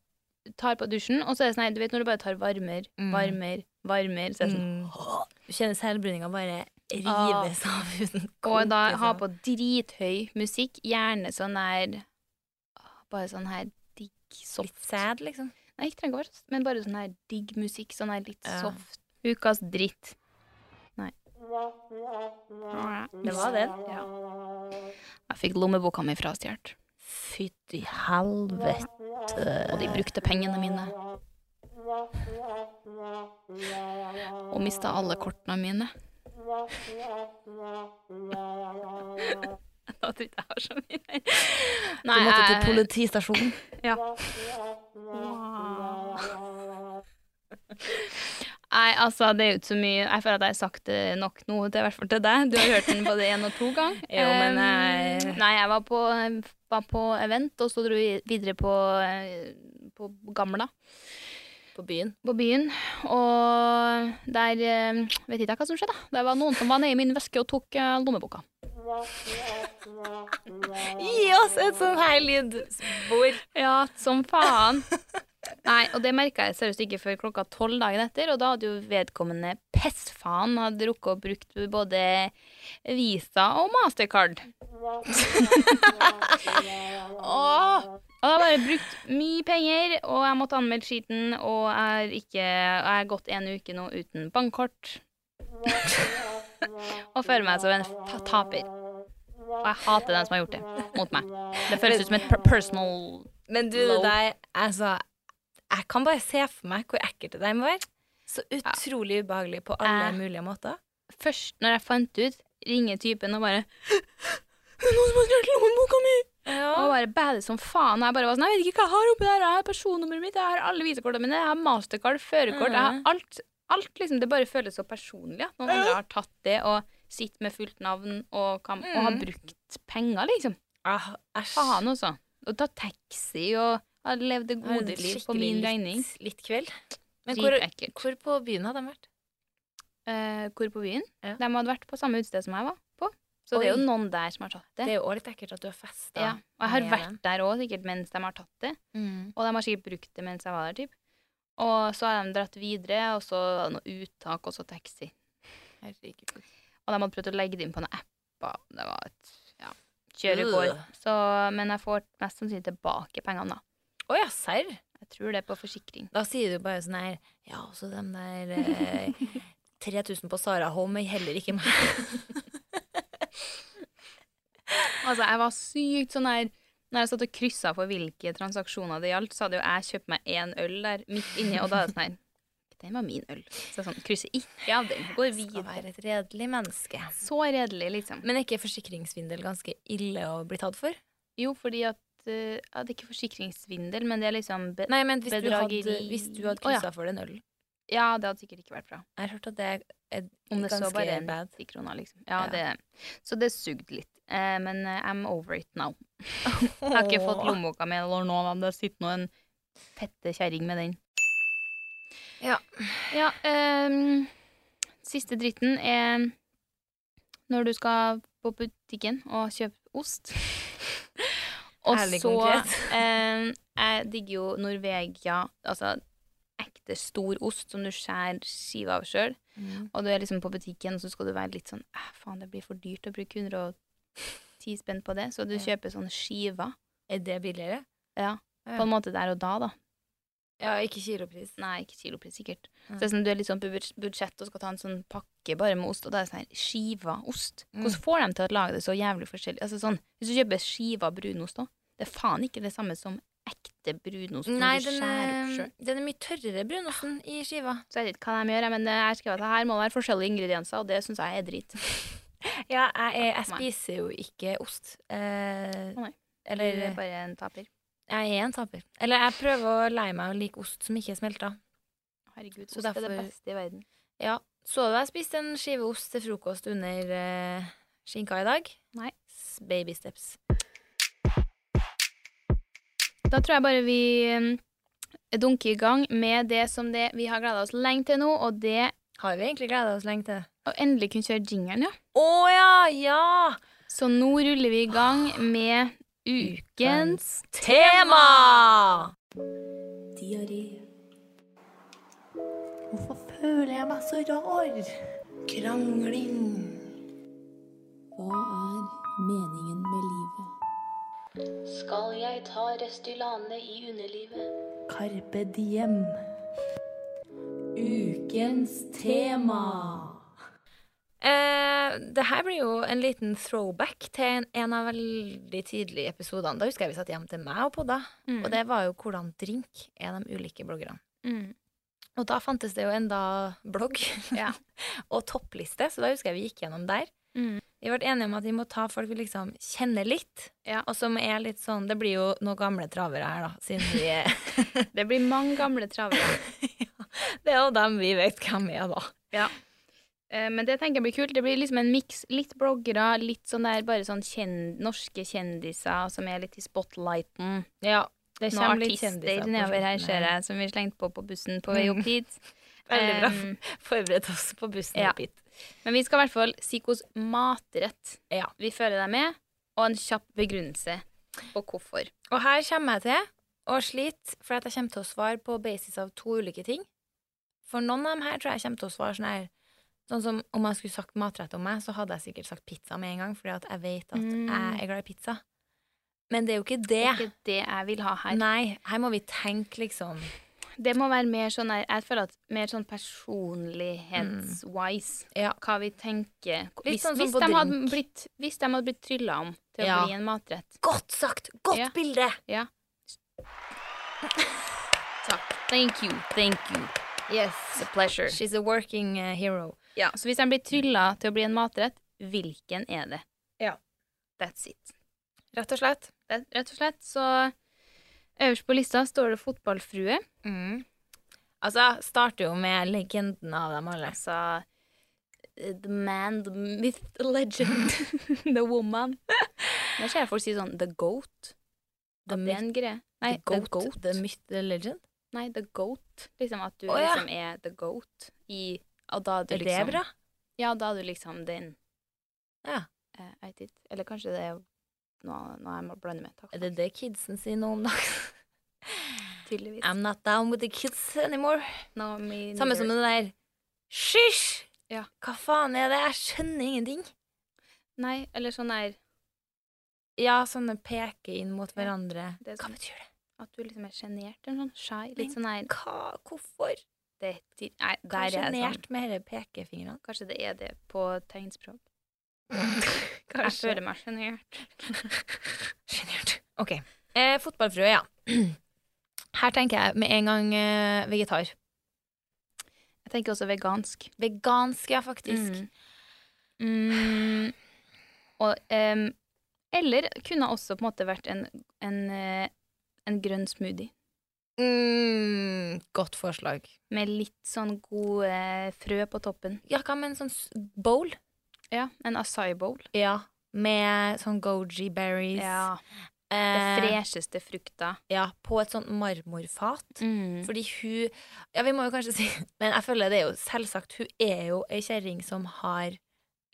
S2: tar på dusjen, og så er det sånn her, du vet når du bare tar varmer,
S1: Mm.
S2: varmer, varmer, så er det sånn,
S1: Mm. Ah. Kjennes helbruninga bare rives av huden.
S2: og da
S1: Kokes
S2: ha
S1: av.
S2: på drithøy musikk, gjerne sånn her, ah, bare sånn her digg, soft.
S1: Litt sad, liksom.
S2: Nei, Nei, ikke trenger å være så men bare sånn her digg musikk. Sånn her litt
S1: Ja.
S2: soft. Ukas dritt. Nei.
S3: Det var den.
S2: Ja. Jeg fikk lommeboka mi frastjålet,
S1: Fytti helvete.
S2: og de brukte pengene mine. Og mista alle kortene mine. Da tror jeg ikke jeg har så mye mer.
S1: Du
S2: Nei,
S1: måtte til
S2: jeg-
S1: politistasjonen.
S2: Nei, altså, det er jo ikke så mye Jeg føler at jeg har sagt det nok nå, til, i hvert fall til deg. Du har hørt den både én og to ganger.
S1: Jo, men jeg-
S2: Nei, jeg var på, var på event, og så dro vi videre på, eh, på Gamla,
S1: På byen.
S2: på byen. Og der eh, vet ikke jeg hva som skjedde. da. Det var noen som var nede i min veske og tok eh, lommeboka.
S1: Gi oss et sånn her lydspor.
S2: Ja, som faen. Nei, og det merka jeg seriøst ikke før klokka tolv dagen etter, og da hadde jo vedkommende pessfaen hadde rukket å brukt både Visa og Mastercard. Åh! Og da bare brukt mye penger, og jeg måtte anmelde skiten, og jeg er ikke Jeg er gått en uke nå uten bankkort. og føler meg som en fa- taper. Og jeg hater den som har gjort det mot meg. Det føles ut som et per personal
S1: Men du, det
S2: Low.
S1: der, altså Jeg kan bare se for meg hvor ekkelt det der må være. Så utrolig ubehagelig på alle
S2: Eh.
S1: mulige måter.
S2: først når jeg fant ut, ringer typen og bare «Det er noen som har stjålet lommeboka mi! Og bare bæler som faen. Og jeg bare var sånn, jeg vet ikke hva jeg har oppi der. Jeg har personnummeret mitt, jeg har alle visekortene mine, jeg har mastercard, førerkort, jeg har
S1: Mhm.
S2: alt. alt liksom, det bare føles så personlig at noen andre har tatt det og sitter med fullt navn og, kan, og har
S1: Mhm.
S2: brukt penger, liksom.
S1: Ah, æsj.
S2: Faen også. Og ta taxi og har levd det
S1: Ja,
S2: gode
S1: det er
S2: liv på
S1: skikkelig
S2: min
S1: litt-
S2: regning.
S1: Litt kveld. Men hvor,
S2: Dritekkelt.
S1: hvor på byen hadde de vært?
S2: Eh, hvor på byen?
S1: Ja.
S2: De hadde vært på samme utsted som jeg var på. Så det er
S1: Oi.
S2: jo noen der som har tatt det.
S1: Det er jo også litt ekkelt at du har festa.
S2: Ja, og jeg har
S1: med
S2: vært
S1: dem.
S2: der òg, sikkert mens de har tatt det.
S1: Mm.
S2: Og de har sikkert brukt det mens jeg var der, typ. Og så har de dratt videre, og så var det noe uttak, og så taxi.
S1: Herregud.
S2: Og de hadde prøvd å legge det inn på noen apper. og Det var et ja, kjøre går.
S1: Øh.
S2: Så, men jeg får mest sannsynlig tilbake pengene, da.
S1: Å ja, serr?
S2: Jeg tror det er på forsikring.
S1: Da sier du bare sånn her Ja, også dem der eh, 3000 på Sara Holm er heller ikke meg.
S2: Altså, jeg var sykt sånn her Når jeg satt og kryssa for hvilke transaksjoner det gjaldt, så hadde jo jeg kjøpt meg én øl der midt inni, og da er det sånn her Den var min øl. Så jeg sånn, krysser ikke av den. Går
S1: Skal
S2: videre.
S1: være et redelig menneske.
S2: Så redelig, liksom.
S1: Men er ikke forsikringssvindel ganske ille å bli tatt for?
S2: Jo, fordi at eh, ja, Det er ikke forsikringssvindel, men det er liksom be
S1: Nei, men hvis du hadde,
S2: Bedrageri.
S1: hvis du hadde
S2: Å, ja.
S1: kryssa for den ølen
S2: Ja, det hadde sikkert ikke vært bra.
S1: Jeg har hørt at det er et,
S2: Om det
S1: ganske
S2: så bare er
S1: bad.
S2: 90 kroner, liksom. Ja,
S1: Ja.
S2: Det, så det sugde litt. Eh, men eh, I'm over it now. Jeg har ikke fått lommeboka mi eller noe, men det sitter nå en fette kjerring med den.
S1: Ja.
S2: Ja, ehm, siste dritten er når du skal på butikken og kjøpe ost. og
S1: Ærlig
S2: så
S1: konkret.
S2: ehm, Jeg digger jo Norvegia, altså ekte stor ost som du skjærer skiva av sjøl.
S1: Mm.
S2: Og du er liksom på butikken, og så skal du være litt sånn «Æ, Faen, det blir for dyrt å bruke 110 spenn på det. Så du
S1: Ja.
S2: kjøper sånne skiver
S1: Er det billigere?
S2: på en måte der og da, da.
S1: Ja, ikke kilopris.
S2: Nei, ikke kilopris, sikkert.
S1: Nei.
S2: Så det er sånn, Du er litt sånn på budsj- budsjett og skal ta en sånn pakke bare med ost, og da er det sånn her skiva ost.
S1: Mm.
S2: Hvordan får de til å lage det så jævlig forskjellig? Altså sånn, Hvis du kjøper skiva brunost da, det er faen ikke det samme som ekte brunost som
S1: Nei,
S2: du
S1: den
S2: skjærer opp
S1: er,
S2: sjøl.
S1: den er mye tørrere brunosten i skiva.
S2: Så jeg vet ikke hva de gjør, jeg, men eh, jeg skrev at her må det være forskjellige ingredienser, og det syns jeg er drit.
S1: Ja, jeg, jeg, jeg
S2: Nei.
S1: spiser jo ikke ost. Eh,
S2: Å, nei. Du
S1: Eller
S2: er bare en taper.
S1: jeg er en taper. Eller jeg prøver å leie meg å like ost som ikke er smelta.
S2: Herregud,
S1: Så
S2: ost er det
S1: derfor-
S2: beste i verden.
S1: Ja, Så du jeg spiste en skive ost til frokost under eh, skinka i dag?
S2: Nei.
S1: S- Baby steps.
S2: Da tror jeg bare vi mm, dunker i gang med det som det vi har gleda oss lenge til nå, og det
S1: Har vi egentlig gleda oss lenge til det?
S2: å endelig kunne kjøre jingeren, ja.
S1: Å ja! Ja!
S2: Så nå ruller vi i gang med ukens
S1: Tema!
S4: Diaré. Hvorfor føler jeg meg så rar? Krangling. Hva er meningen med livet?
S5: Skal jeg ta Restylane i underlivet?
S4: Carpe diem. Ukens tema.
S1: Eh, det her blir jo en liten throwback til en, en av veldig tidlige episodene. Da husker jeg vi satt hjem til meg og podda,
S2: Mm.
S1: og det var jo hvordan drink er de ulike bloggerne.
S2: Mm.
S1: Og da fantes det jo enda blogg
S2: Ja.
S1: og toppliste, så da husker jeg vi gikk gjennom der.
S2: Mm.
S1: Vi ble enige om at vi må ta folk vi liksom kjenner litt,
S2: Ja.
S1: og som er litt sånn Det blir jo noen gamle travere her, da, siden vi er
S2: Det blir mange gamle travere.
S1: Det er jo dem vi vet hvem er, da.
S2: Eh, Men det tenker jeg blir kult. Det blir liksom en miks. Litt bloggere, litt sånn der bare sånn kjen norske kjendiser som er litt i spotlighten.
S1: Ja, det
S2: Noen artister nedover her, Mm. ser jeg, som vi slengte på på bussen på vei opp dit.
S1: Veldig bra.
S2: Em,
S1: Forberedt oss på bussen
S2: Ja.
S1: opp hit.
S2: men vi skal i hvert fall si hvordan matrett
S1: Ja.
S2: vi føler deg med, og en kjapp begrunnelse på hvorfor.
S1: Og her kommer jeg til å slite, for at jeg kommer til å svare på basis av to ulike ting. For noen av dem her tror jeg kommer til å svare sånn her Sånn som om jeg skulle sagt matrett om meg, så hadde jeg sikkert sagt pizza med en gang, fordi at jeg vet at
S2: Mm.
S1: jeg er glad i pizza. Men det er jo ikke det.
S2: Det er ikke det jeg vil ha her.
S1: Nei, her må vi tenke liksom
S2: Det må være mer sånn her- Jeg føler at mer sånn personlighets-wise.
S1: Mm. Ja.
S2: Hva vi tenker
S1: Litt
S2: hvis,
S1: sånn som
S2: hvis,
S1: på
S2: de hadde
S1: drink.
S2: blitt, hvis de hadde blitt trylla om til å
S1: Ja.
S2: bli en matrett
S1: Godt sagt! Godt
S2: Ja.
S1: bilde!
S2: Takk. Thank you. Thank you.
S1: Yes.
S2: It's a pleasure.
S1: She's a working eh, hero.
S2: Ja, så hvis de blir trylla til å bli en matrett, hvilken er det?
S1: Ja.
S2: That's it.
S1: Rett og slett.
S2: Det, er rett og slett så Øverst på lista står det fotballfrue.
S1: Mm. Altså, starter jo med legenden av dem alle.
S2: Altså eh, The man, the myth, the legend, the woman. Nå ser jeg folk si sånn The goat.
S1: The
S2: At det er en greie. Nei,
S1: The goat. The,
S2: goat.
S1: myth, the legend.
S2: Nei, the goat. Liksom at du
S1: Å, ja.
S2: liksom er the goat i Og da er du
S1: Er
S2: liksom
S1: det bra?
S2: Ja, da er du liksom den.
S1: Ja.
S2: Eh, jeg vet ikke. Eller kanskje det er noe, noe jeg må blande med. Takk.
S1: Er det det kidsen sier nå om dagen?
S2: Tydeligvis.
S1: I'm not down with the kids anymore.
S2: No, me
S1: Samme som
S2: neither.
S1: det der Hysj!
S2: Ja.
S1: Hva faen er det? Jeg skjønner ingenting.
S2: Nei, eller sånn her
S1: Ja, sånne peker inn mot hverandre.
S2: det er
S1: Hva
S2: sånn-
S1: betyr det?
S2: at du liksom er sjenert eller sånn shy. Litt sånn her
S1: Hva? Hvorfor?
S2: det, de, Nei, der
S1: Hva
S2: er
S1: er
S2: jeg sånn.
S1: sjenert med disse pekefingrene?
S2: Kanskje det er det på tegnspråk. Jeg
S1: Kanskje.
S2: føler meg sjenert.
S1: Sjenert. OK. Eh, fotballfrue, ja. Her tenker jeg med en gang eh, vegetar.
S2: Jeg tenker også vegansk.
S1: Vegansk, ja, faktisk.
S2: Mm. Mm. Og, em, eller kunne også på en måte vært en, en, eh, en grønn smoothie.
S1: Mm, godt forslag.
S2: Med litt sånn gode frø på toppen.
S1: Ja, hva med en sånn s- bowl?
S2: Ja, en acai bowl.
S1: Ja. Med sånn goji berries.
S2: Ja, det
S1: Eh,
S2: fresheste frukta.
S1: ja, på et sånt marmorfat.
S2: Mm.
S1: Fordi hun Ja, vi må jo kanskje si Men jeg føler det er jo selvsagt. Hun er jo ei kjerring som har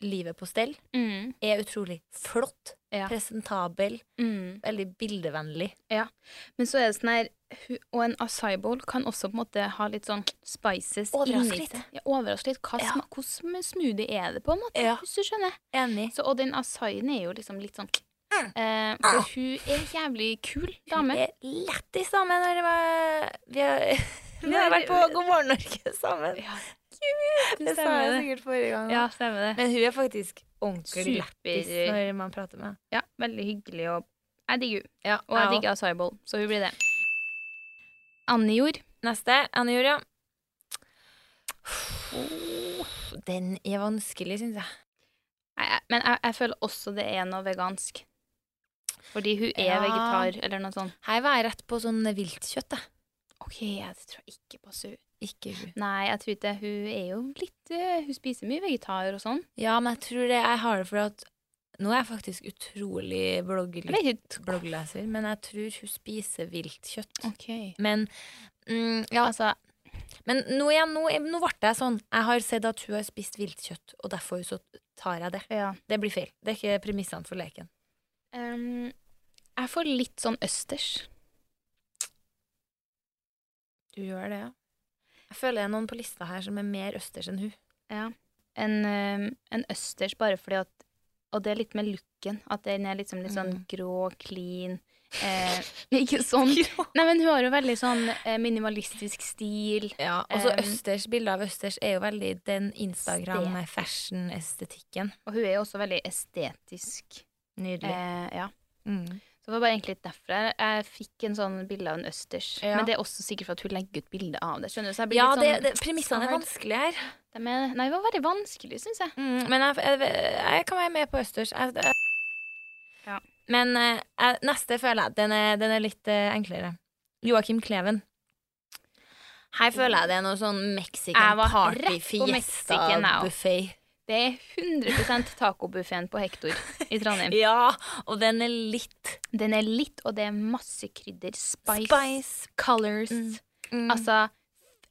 S1: livet på stell.
S2: Mm.
S1: Er utrolig flott.
S2: Ja.
S1: Presentabel.
S2: Mm.
S1: Veldig bildevennlig.
S2: Men så er det sånn her hu- Og en acai bowl kan også på en måte ha litt sånn spices
S1: Overraske
S2: inni
S1: litt.
S2: seg. Ja, overraske litt. Hva
S1: Ja.
S2: sma- Hvordan smoothie er det, på en måte?
S1: Ja.
S2: Hvis du skjønner.
S1: Enig.
S2: Så, og den asaien er jo liksom litt sånn
S1: Mm.
S2: eh,
S1: Ah.
S2: For hun er jævlig kul
S1: Hun
S2: dame.
S1: er lættis sammen når jeg- vi har, vi har
S2: Når-
S1: vært på God morgen Norge sammen.
S2: Ja,
S1: Det sa
S2: stemmer
S1: jeg
S2: det.
S1: sikkert forrige gang.
S2: Ja, stemmer det.
S1: Men hun er faktisk ordentlig
S2: Super-
S1: lættis når man prater med henne.
S2: Ja, veldig hyggelig og Jeg digger hun.
S1: Ja,
S2: Og jeg digger acai bowl, så hun blir det. Annijord.
S1: Neste. Anne Julia. Den er vanskelig, syns jeg.
S2: Nei, jeg- Men jeg, jeg føler også det er noe vegansk. Fordi hun er
S1: Ja.
S2: vegetar, eller noe sånt.
S1: Her var jeg rett på sånn viltkjøtt. jeg.
S2: OK, jeg tror ikke på hun.
S1: Ikke hun.
S2: Nei, jeg tror ikke Hun er jo litt eh, Hun spiser mye vegetar og sånn.
S1: Ja, men jeg tror det jeg har det for at Nå er jeg faktisk utrolig
S2: Jeg vet
S1: blogglytt
S2: ikke.
S1: bloggleser, men jeg tror hun spiser viltkjøtt.
S2: OK.
S1: Men mm, ja, altså Men nå igjen, nå, nå ble jeg sånn. Jeg har sett at hun har spist viltkjøtt, og derfor så tar jeg det.
S2: Ja.
S1: Det blir feil. Det er ikke premissene for leken.
S2: Ehm, jeg får litt sånn østers.
S1: Du gjør det, ja. Jeg føler det er noen på lista her som er mer østers enn hun.
S2: En, ehm, en Mm. østers bare fordi at Og det er litt med looken. At den er liksom litt sånn grå, clean. Eh, ikke sånn. Nei, men hun har jo veldig sånn eh, minimalistisk stil.
S1: Ja, og så
S2: Um,
S1: Østers, bildet av Østers er jo veldig den Instagram-fashion-estetikken.
S2: Og hun er jo også veldig estetisk.
S1: Nydelig.
S2: Eh, ja.
S1: Mm.
S2: Så det var bare egentlig litt derfor jeg, jeg fikk en sånn bilde av en østers.
S1: Ja.
S2: Men det er også sikkert for at hun legger ut bilde av det. skjønner du? Så jeg blir
S1: Ja,
S2: litt
S1: det,
S2: sånn,
S1: det, premissene er
S2: scarred.
S1: vanskelige her.
S2: De er- Nei, det var veldig vanskelig, syns jeg.
S1: Mm, men jeg, jeg, jeg kan være med på østers. Jeg, jeg,
S2: Ja.
S1: Men eh, jeg, neste føler jeg den er, den er litt eh, enklere. Joakim Kleven. Her føler jeg det er noe sånn
S2: Jeg
S1: Mexican
S2: var
S1: party,
S2: rett på
S1: fiesta,
S2: Mexican now.
S1: buffé.
S2: Det er 100 tacobuffeen på Hektor i Trondheim.
S1: Ja, og den er litt
S2: Den er litt, og det er masse krydder. Spice,
S1: spice.
S2: colors.
S1: Mm. Mm.
S2: Altså,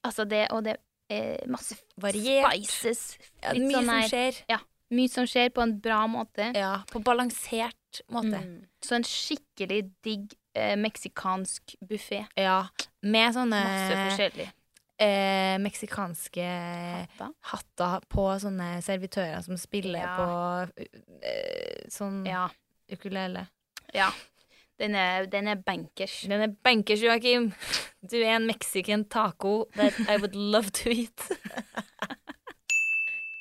S2: altså det, og det er masse
S1: Variert.
S2: spices.
S1: Ja,
S2: litt
S1: mye
S2: sånn her-
S1: som skjer.
S2: Mye som skjer på en bra måte.
S1: Ja, på balansert måte.
S2: Mm. Så en skikkelig digg eh, meksikansk buffé.
S1: Ja. Med sånne
S2: Masse forskjellig.
S1: eh, meksikanske
S2: Pappa.
S1: hatter på sånne servitører som spiller
S2: Ja.
S1: på eh, sånn
S2: Ja.
S1: ukulele.
S2: ja. Den er, den er bankers.
S1: Den er bankers, Joakim. Du er en mexican taco that I would love to eat.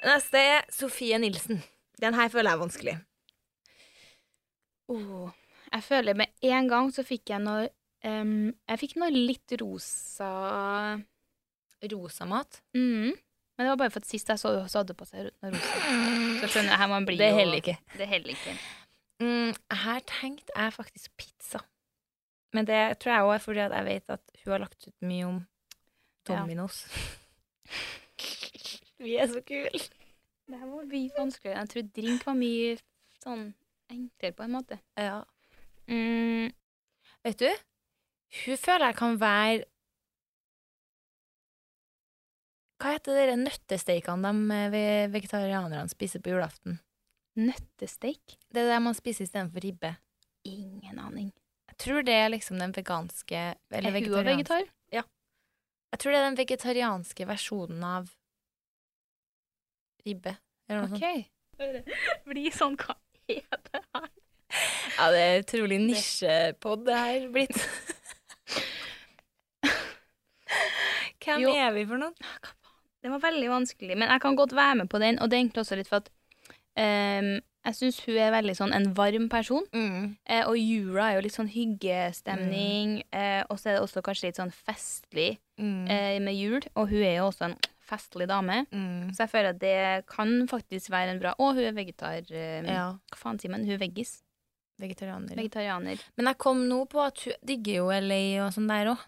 S1: Neste er Sofie Nilsen. Den her føler jeg er vanskelig.
S2: Åh, Oh, Jeg føler med en gang så fikk jeg noe em, Jeg fikk noe litt rosa
S1: Rosamat.
S2: mm. Men det var bare for at sist jeg så henne, så hadde hun på seg noe rosa. Så skjønner jeg, her man blir
S1: Mm. Det
S2: jo-
S1: heller ikke.
S2: Det heller ikke.
S1: Mm, her tenkte jeg faktisk pizza. Men det tror jeg òg er fordi at jeg vet at hun har lagt ut mye om
S2: Ja.
S1: Dominos. Vi er så kule!
S2: Det her var mye vanskeligere. Jeg tror drink var mye sånn enklere, på en måte.
S1: Ja.
S2: Mm,
S1: Vet du, hun føler jeg kan være Hva heter de nøttesteikene de eh, ve- vegetarianerne spiser på julaften?
S2: nøttesteik?
S1: Det er det man spiser istedenfor ribbe.
S2: Ingen aning.
S1: Jeg tror det er liksom den veganske eller
S2: Er hun også
S1: vegetarianske
S2: vegetar?
S1: Jeg tror det er den vegetarianske versjonen av ribbe. Eller noe
S2: OK. Blir sånn, hva er det her?
S1: sånt. Ja, det er utrolig nisjepod det her blitt. Hvem
S2: Jo.
S1: er vi for noen?
S2: Det var veldig vanskelig, men jeg kan godt være med på den. Og det er egentlig også litt for at ehm, jeg syns hun er veldig sånn en varm person.
S1: Mm,
S2: Eh, og jula er jo litt sånn hyggestemning, eh, og så er det også kanskje litt sånn festlig
S1: Mm.
S2: eh, med jul. Og hun er jo også en festlig dame,
S1: Mm.
S2: så jeg føler at det kan faktisk være en bra Og hun er vegetar... eh,
S1: Ja,
S2: Hva faen sier man? Hun er veggis.
S1: vegetarianer.
S2: Vegetarianer.
S1: Men jeg kom nå på at hun digger jo LA og sånn der òg,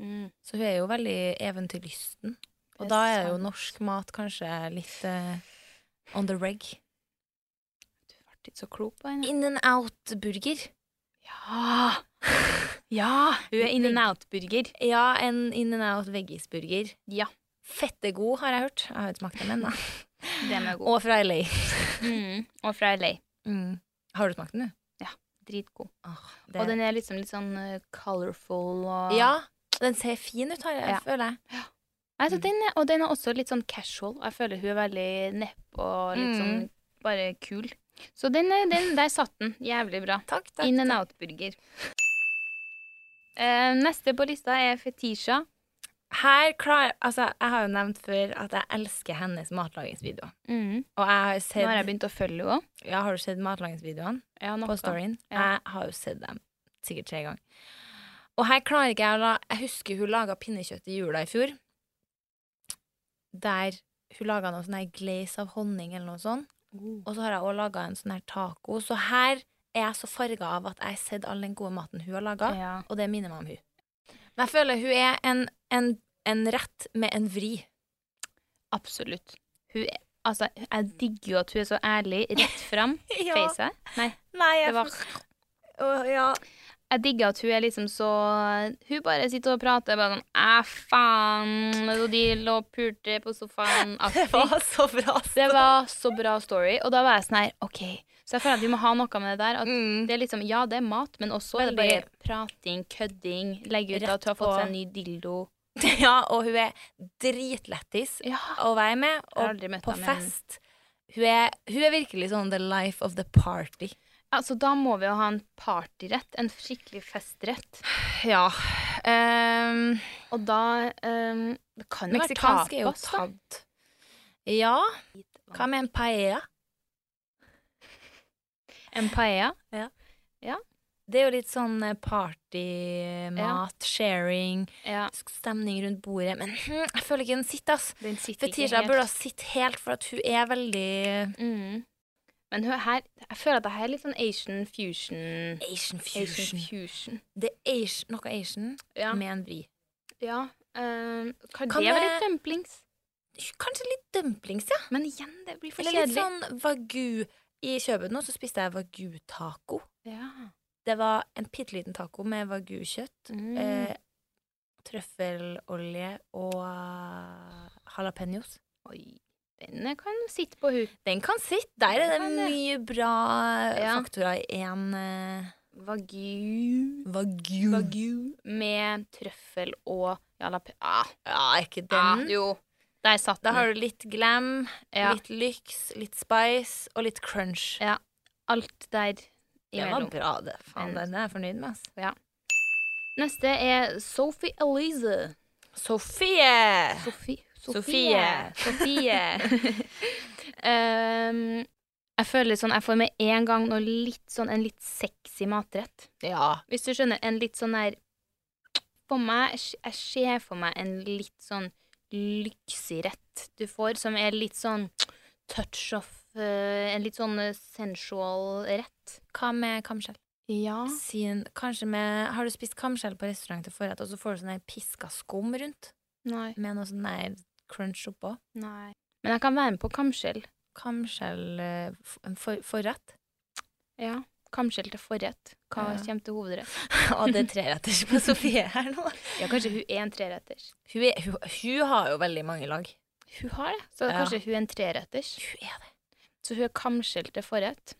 S2: Mm.
S1: så hun er jo veldig eventyrlysten. Og
S2: Det er
S1: da er jo
S2: sant.
S1: norsk mat kanskje litt eh, on the reg.
S2: Du ble ikke så klok på henne.
S1: In and out-burger.
S2: Ja! Ja! Hun er in and out-burger.
S1: Ja, en in and out veggisburger.
S2: Ja.
S1: Fettegod, har jeg hørt. Jeg har ikke smakt dem ennå.
S2: Den er god.
S1: Og fra LA.
S2: Mm. Og fra LA. Mm.
S1: Har du smakt den, du?
S2: Dritgod.
S1: Det-
S2: Og den er liksom litt sånn eh, colorful og
S1: Ja, den ser fin ut, har jeg,
S2: Ja.
S1: føler jeg.
S2: Altså, den er, og den er også litt sånn casual. Jeg føler hun er veldig nepp og litt
S1: Mm.
S2: sånn bare kul. Så den, er- den, der satt den. Jævlig bra.
S1: Takk, takk.
S2: In and out-burger. Eh, neste på lista er Fetisha.
S1: Her klar, altså, jeg har jo nevnt før at jeg elsker hennes matlagingsvideoer. Og jeg har
S2: Nå har jeg
S1: sett
S2: begynt å følge henne òg.
S1: ja, Har du sett matlagingsvideoene
S2: Ja, noe.
S1: på storyen?
S2: Ja.
S1: Jeg har jo sett dem sikkert tre ganger. Og her klarer ikke jeg å la Jeg husker hun laga pinnekjøtt i jula i fjor. Der hun laga noe sånn her glaze av honning eller noe sånt. Og så har jeg også laga en sånn her taco. Så her er jeg så farga av at jeg har sett all den gode maten hun har laga,
S2: Ja.
S1: og det minner meg om hun. Men jeg føler hun er en, en, en rett med en vri.
S2: Absolutt. Hun er, altså, jeg digger jo at hun er så ærlig. Rett fram. Face her. Nei,
S1: Nei,
S2: det var Jeg digger at hun er liksom så Hun bare sitter og prater bare sånn Æ, faen. Og de lå og pulte på sofaen.
S1: Det var så bra.
S2: Det var så bra story. Og da var jeg sånn her, OK. Så jeg føler at vi må ha noe med det der. At
S1: Mm.
S2: det er liksom, Ja, det er mat, men også er det bare
S1: Veldig-
S2: prating, kødding, legge ut
S1: Rett
S2: at hun har fått
S1: på.
S2: seg en ny dildo.
S1: Ja, og hun er dritlættis
S2: Ja.
S1: å være med,
S2: Jeg har
S1: og
S2: aldri møtt
S1: på
S2: henne, men-
S1: fest. Hun er, hun er virkelig sånn the life of the party.
S2: Altså, da må vi jo ha en partyrett. En skikkelig festrett.
S1: Ja. Um,
S2: Og da ehm, Det kan jo være
S1: meksikansk er jo
S2: tapas, da.
S1: tatt. Ja. Hva med en paella?
S2: En paella.
S1: Det er jo litt sånn eh, party, mat, sharing,
S2: Ja,
S1: stemning rundt bordet. Men hm, jeg føler ikke den sitter, ass.
S2: den sitter
S1: Fetisha
S2: ikke
S1: burde ha
S2: helt.
S1: sittet helt, for at hun er veldig
S2: Mm. Men hør her, jeg føler at det her er litt sånn Asian fusion.
S1: Asian
S2: Asian
S1: fusion.
S2: fusion.
S1: Det er Asian, noe Asian
S2: Ja.
S1: med en vri.
S2: ja. ehm, kan
S1: Kan
S2: det være
S1: det-
S2: litt dumplings?
S1: Kanskje litt dumplings, ja.
S2: Men igjen, det blir for
S1: Eller litt
S2: kjedelig.
S1: sånn wagyu. I København nå så spiste jeg wagyu-taco.
S2: Ja.
S1: Det var en bitte liten taco med wagyu-kjøtt,
S2: Mm.
S1: eh, trøffelolje og uh, jalapeños.
S2: Oi, den kan sitte på hun.
S1: Den kan sitte. Der er det
S2: Den kan det.
S1: mye bra
S2: Ja.
S1: faktorer i én eh,
S2: Wagyu.
S1: wagyu.
S2: Wagyu med trøffel og jalapeño. Ah,
S1: Ja, er ikke
S2: ah,
S1: den?
S2: jo, der satt
S1: da
S2: den.
S1: har du litt glam,
S2: ja.
S1: litt lyx, litt spice og litt crunch.
S2: Ja, Alt der
S1: Det var
S2: imellom.
S1: bra, det.
S2: Mm.
S1: Faen, den er jeg fornøyd med. ass.
S2: Neste er Sophie Elise.
S1: Sofie!
S2: Sophie.
S1: Sofie.
S2: Sofie. Ehm, jeg føler sånn, jeg får med en gang noe litt sånn, en litt sexy matrett.
S1: Ja.
S2: Hvis du skjønner, en litt sånn der For meg, jeg ser for meg en litt sånn lyksig rett du får, som er litt sånn touch of eh, En litt sånn eh, sensual rett.
S1: Hva med kamskjell? Ah.
S2: Ja.
S1: Sin, kanskje med, har du spist kamskjell på restaurant til forrett, og så får du sånn her piska skum rundt?
S2: Nei.
S1: Med noe sånn her crunch oppå?
S2: Nei. Men jeg kan være med på kamskjell.
S1: Kamskjell eh, f- en for, forrett?
S2: Ja. Kamskjell til forrett. Hva
S1: Ja.
S2: kommer til hovedrett?
S1: Og det er treretters på Sofie her nå.
S2: Ja, kanskje hun er en treretters.
S1: Hun, er, hun, hun har jo veldig mange lag.
S2: Hun har det. Så
S1: Ja.
S2: kanskje hun er en treretters.
S1: Hun er det.
S2: Så hun er kamskjell til forrett.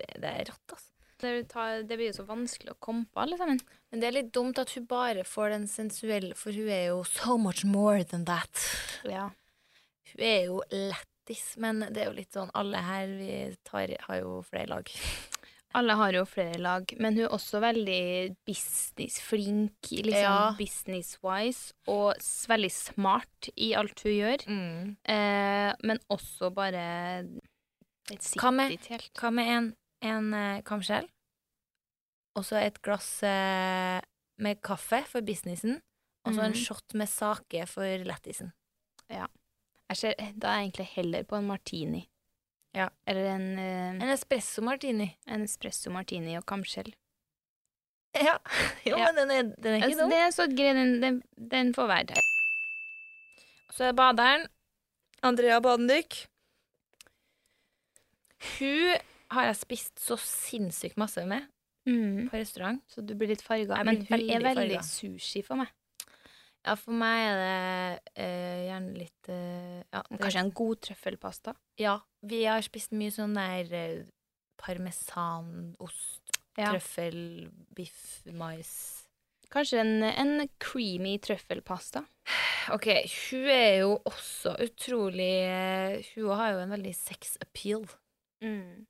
S1: Det, det er rått, altså.
S2: Det, tar, det blir jo så vanskelig å komme på, alle sammen.
S1: Men det er litt dumt at hun bare får den sensuelle, for hun er jo so much more than that.
S2: Ja.
S1: Hun er jo lættis, men det er jo litt sånn Alle her vi tar, har jo flere lag.
S2: Alle har jo flere lag, men hun er også veldig businessflink, liksom
S1: Ja.
S2: business-wise, og s- veldig smart i alt hun gjør.
S1: Mm.
S2: Eh, men også bare Det sitter
S1: Hva med-
S2: ikke helt.
S1: Hva med en, en eh, kamskjell? Og så et glass eh, med kaffe for businessen. Og så en
S2: Mhm.
S1: shot med sake for lættisen.
S2: Jeg ser, da er jeg egentlig heller på en martini.
S1: Ja.
S2: Eller en, eh,
S1: En espresso martini.
S2: en espresso martini og kamskjell.
S1: Ja, jo,
S2: Ja.
S1: men den er, den er ikke
S2: Altså,
S1: dum.
S2: det er så grei, den, den, den får være der.
S1: Så er baderen Andrea Badendyk. Hun har jeg spist så sinnssykt masse med
S2: Mm.
S1: på restaurant.
S2: Så du blir litt farga.
S1: Jeg
S2: Men
S1: blir
S2: hun
S1: veldig
S2: er veldig
S1: farget.
S2: sushi for meg.
S1: Ja, for meg er det eh, gjerne litt eh, ja, det,
S2: Kanskje en god trøffelpasta.
S1: Ja, vi har spist mye sånn der eh, parmesan, ost,
S2: Ja.
S1: trøffel, biff, mais.
S2: Kanskje en, en creamy trøffelpasta.
S1: Ok, hun er jo også utrolig eh, Hun har jo en veldig sex appeal.
S2: Mm.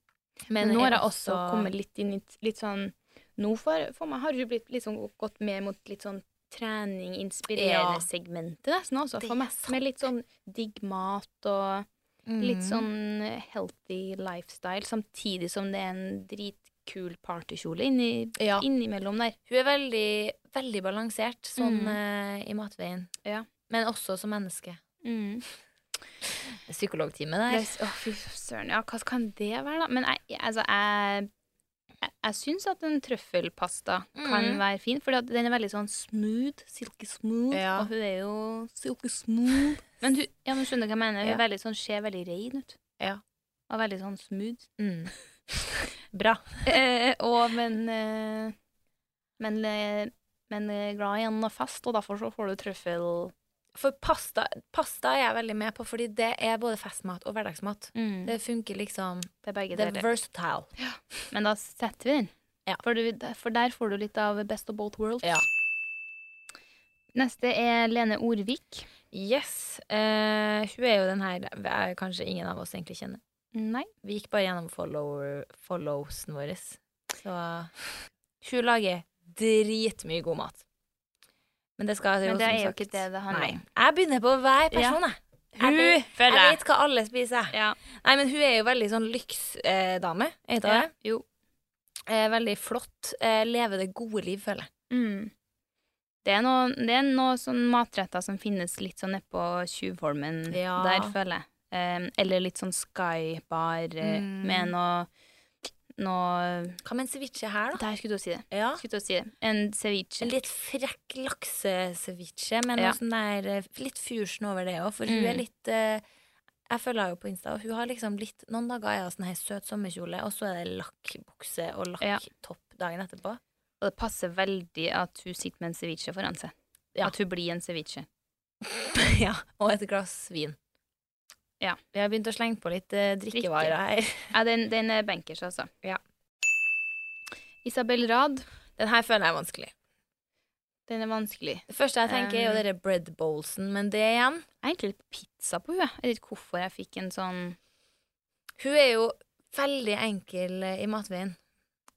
S2: Men
S1: er
S2: nå har jeg også kommet litt inn i t- litt sånn Nå for, for meg har du blitt litt sånn, gått mer mot litt sånn trening,
S1: Ja.
S2: inspirerende segmentet nesten også,
S1: Det
S2: for
S1: er
S2: meg.
S1: sant.
S2: Med litt sånn digg mat og litt
S1: Mm.
S2: sånn healthy lifestyle, samtidig som det er en dritkul partykjole inni,
S1: ja.
S2: innimellom der.
S1: Hun er veldig, veldig balansert sånn
S2: Mm.
S1: eh, i matveien.
S2: Ja.
S1: Men også som menneske.
S2: Mm.
S1: Psykologtime
S2: Det
S1: der.
S2: er s- Å, fy søren. Ja, hva kan det være, da? Men jeg, altså, jeg jeg, jeg syns at en trøffelpasta kan
S1: Mhm.
S2: være fin, for den er veldig sånn smooth. Silky smooth.
S1: Ja.
S2: Og hun er jo silky
S1: Mm.
S2: smooth. Men hun ja, men skjønner du hva jeg mener? Hun
S1: Ja.
S2: er veldig sånn, ser veldig rein ut.
S1: Ja.
S2: Og veldig sånn smooth.
S1: Mm. Bra.
S2: Eh, og men eh, men, eh, men eh, glad i en fest, og derfor så får du trøffel
S1: For pasta, pasta er jeg veldig med på, fordi det er både festmat og hverdagsmat.
S2: det,
S1: Det funker liksom
S2: det er begge
S1: Det er
S2: deler.
S1: versatile.
S2: Men da setter vi den.
S1: Ja.
S2: For, du, for der får du litt av best of both worlds.
S1: Ja.
S2: Neste er Lene Orvik.
S1: Yes. Eh, hun er jo den her er kanskje ingen av oss egentlig kjenner.
S2: Nei.
S1: Vi gikk bare gjennom follower, followsen vår. Så hun lager dritmye god mat. Men det skal
S2: Men det
S1: som
S2: er jo
S1: sagt-
S2: ikke det det handler
S1: Nei.
S2: om.
S1: Jeg begynner på hver person, jeg. Jeg vet- Jeg
S2: føler jeg.
S1: vet hva alle spiser.
S2: Ja.
S1: Nei, men hun er jo veldig sånn lyksdame. Eh,
S2: Ja,
S1: dame.
S2: Jo.
S1: eh, veldig flott. Eh, lever det gode liv, føler jeg.
S2: Mm. Det er noen noe det er noe sånn matretter som finnes litt sånn nedpå Tjuvholmen
S1: Ja.
S2: der, føler jeg. Eh, eller litt sånn Skybar eh,
S1: Mm.
S2: med noe, noe
S1: Hva med en ceviche her, da?
S2: Der skulle du si det.
S1: Ja.
S2: Skulle du si det. En ceviche.
S1: Ah. En litt frekk lakseseviche, men noe
S2: Ja.
S1: sånn der, eh, litt fusion over det òg. For hun
S2: Mm.
S1: er litt eh, Jeg følger henne jo på Insta, og hun har liksom litt Noen dager er hun sånn her søt sommerkjole, og så er det lakkbukse og
S2: Ja.
S1: lakktopp dagen etterpå.
S2: Og det passer veldig at hun sitter med en ceviche foran seg.
S1: Ja.
S2: At hun blir en ceviche.
S1: ja, Og et glass vin.
S2: Ja.
S1: Vi har begynt å slenge på litt eh, drikkevarer her.
S2: Ja, den, den er bankers, altså.
S1: Ja.
S2: Isabel Rad,
S1: Den her føler jeg er vanskelig.
S2: den er vanskelig. Jeg
S1: Det første jeg tenker, er jo
S2: Um.
S1: dere bread bowlsen, men det igjen
S2: er egentlig litt på pizza på henne. jeg. Jeg vet ikke hvorfor jeg fikk en sånn
S1: Hun er jo veldig enkel eh, i matveien.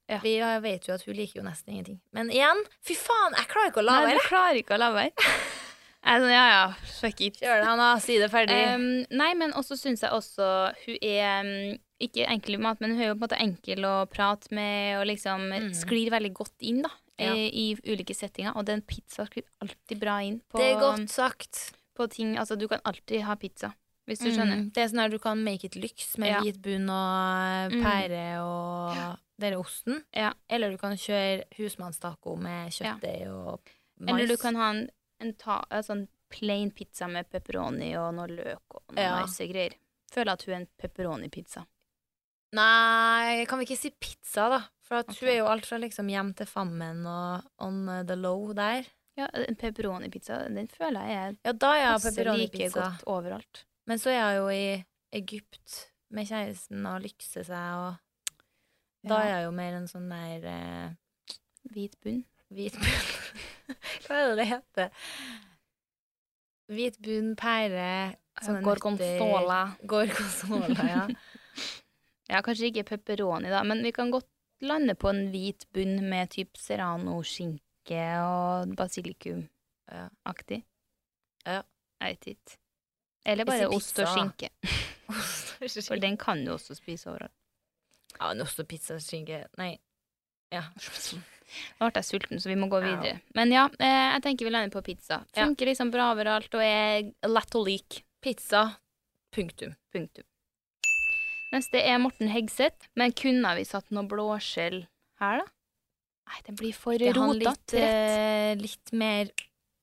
S2: Ja.
S1: Vi har- vet jo at hun liker jo nesten ingenting. Men igjen, fy faen, jeg klarer ikke å la
S2: Nei,
S1: være!
S2: du klarer ikke å la være. Jeg er sånn, ja, ja, fuck it.
S1: Kjør det, Hanna. Si det ferdig.
S2: Em, nei, men også syns jeg også hun er em, ikke enkel i mat, men hun er jo på en måte enkel å prate med og liksom
S1: Mm.
S2: sklir veldig godt inn da, eh,
S1: Ja.
S2: i, i ulike settinger. Og den pizza sklir alltid bra inn på,
S1: det er godt sagt.
S2: på ting Altså, du kan alltid ha pizza, hvis du skjønner.
S1: Mm. Det er sånn at du kan make it lyks med
S2: Ja.
S1: hvit bunn og eh,
S2: Mm.
S1: pære og dere osten.
S2: Ja.
S1: Eller du kan kjøre husmannstaco med kjøttdeig og mais.
S2: Eller du kan ha en, en, ta, en sånn plain pizza med pepperoni og noe løk og noe
S1: Ja.
S2: nice greier. Føler at hun er en pepperoni-pizza.
S1: Nei, kan vi ikke si pizza, da? For at hun
S2: Ok.
S1: er jo alt fra liksom hjem til fammen og on the low der.
S2: Ja, en pepperoni-pizza, den føler jeg er
S1: Ja, da er jeg
S2: passer like
S1: pepperoni-pizza.
S2: godt overalt.
S1: Men så er jeg jo i Egypt med kjæresten og lykse seg, og da er
S2: Ja.
S1: jeg jo mer en sånn der eh,
S2: Hvit bunn.
S1: Hvit bunn Hva er det det heter? Hvit bunn, pære sånne
S2: Gorgonzola.
S1: nøtter. Gorgonzola, ja.
S2: Ja, kanskje ikke pepperoni, da, men vi kan godt lande på en hvit bunn med typ serrano-skinke
S1: Ja.
S2: og basilikum-aktig.
S1: Ja.
S2: Jeg vet ikke.
S1: Jeg
S2: Eller bare
S1: sier
S2: ost
S1: pizza,
S2: og
S1: da.
S2: skinke, for den kan du også spise overalt.
S1: ja, men også pizza, skinke Nei. Ja.
S2: Nå ble jeg sulten, så vi må gå
S1: Ja.
S2: videre. Men ja, eh, jeg tenker vi lander på pizza.
S1: Ja.
S2: Funker liksom bra overalt og er lett å like.
S1: Pizza. Punktum.
S2: Punktum. Neste er Morten Hegseth. Men kunne vi satt noe blåskjell her, da? Nei, den blir for
S1: Er han litt,
S2: rotete.
S1: eh, litt mer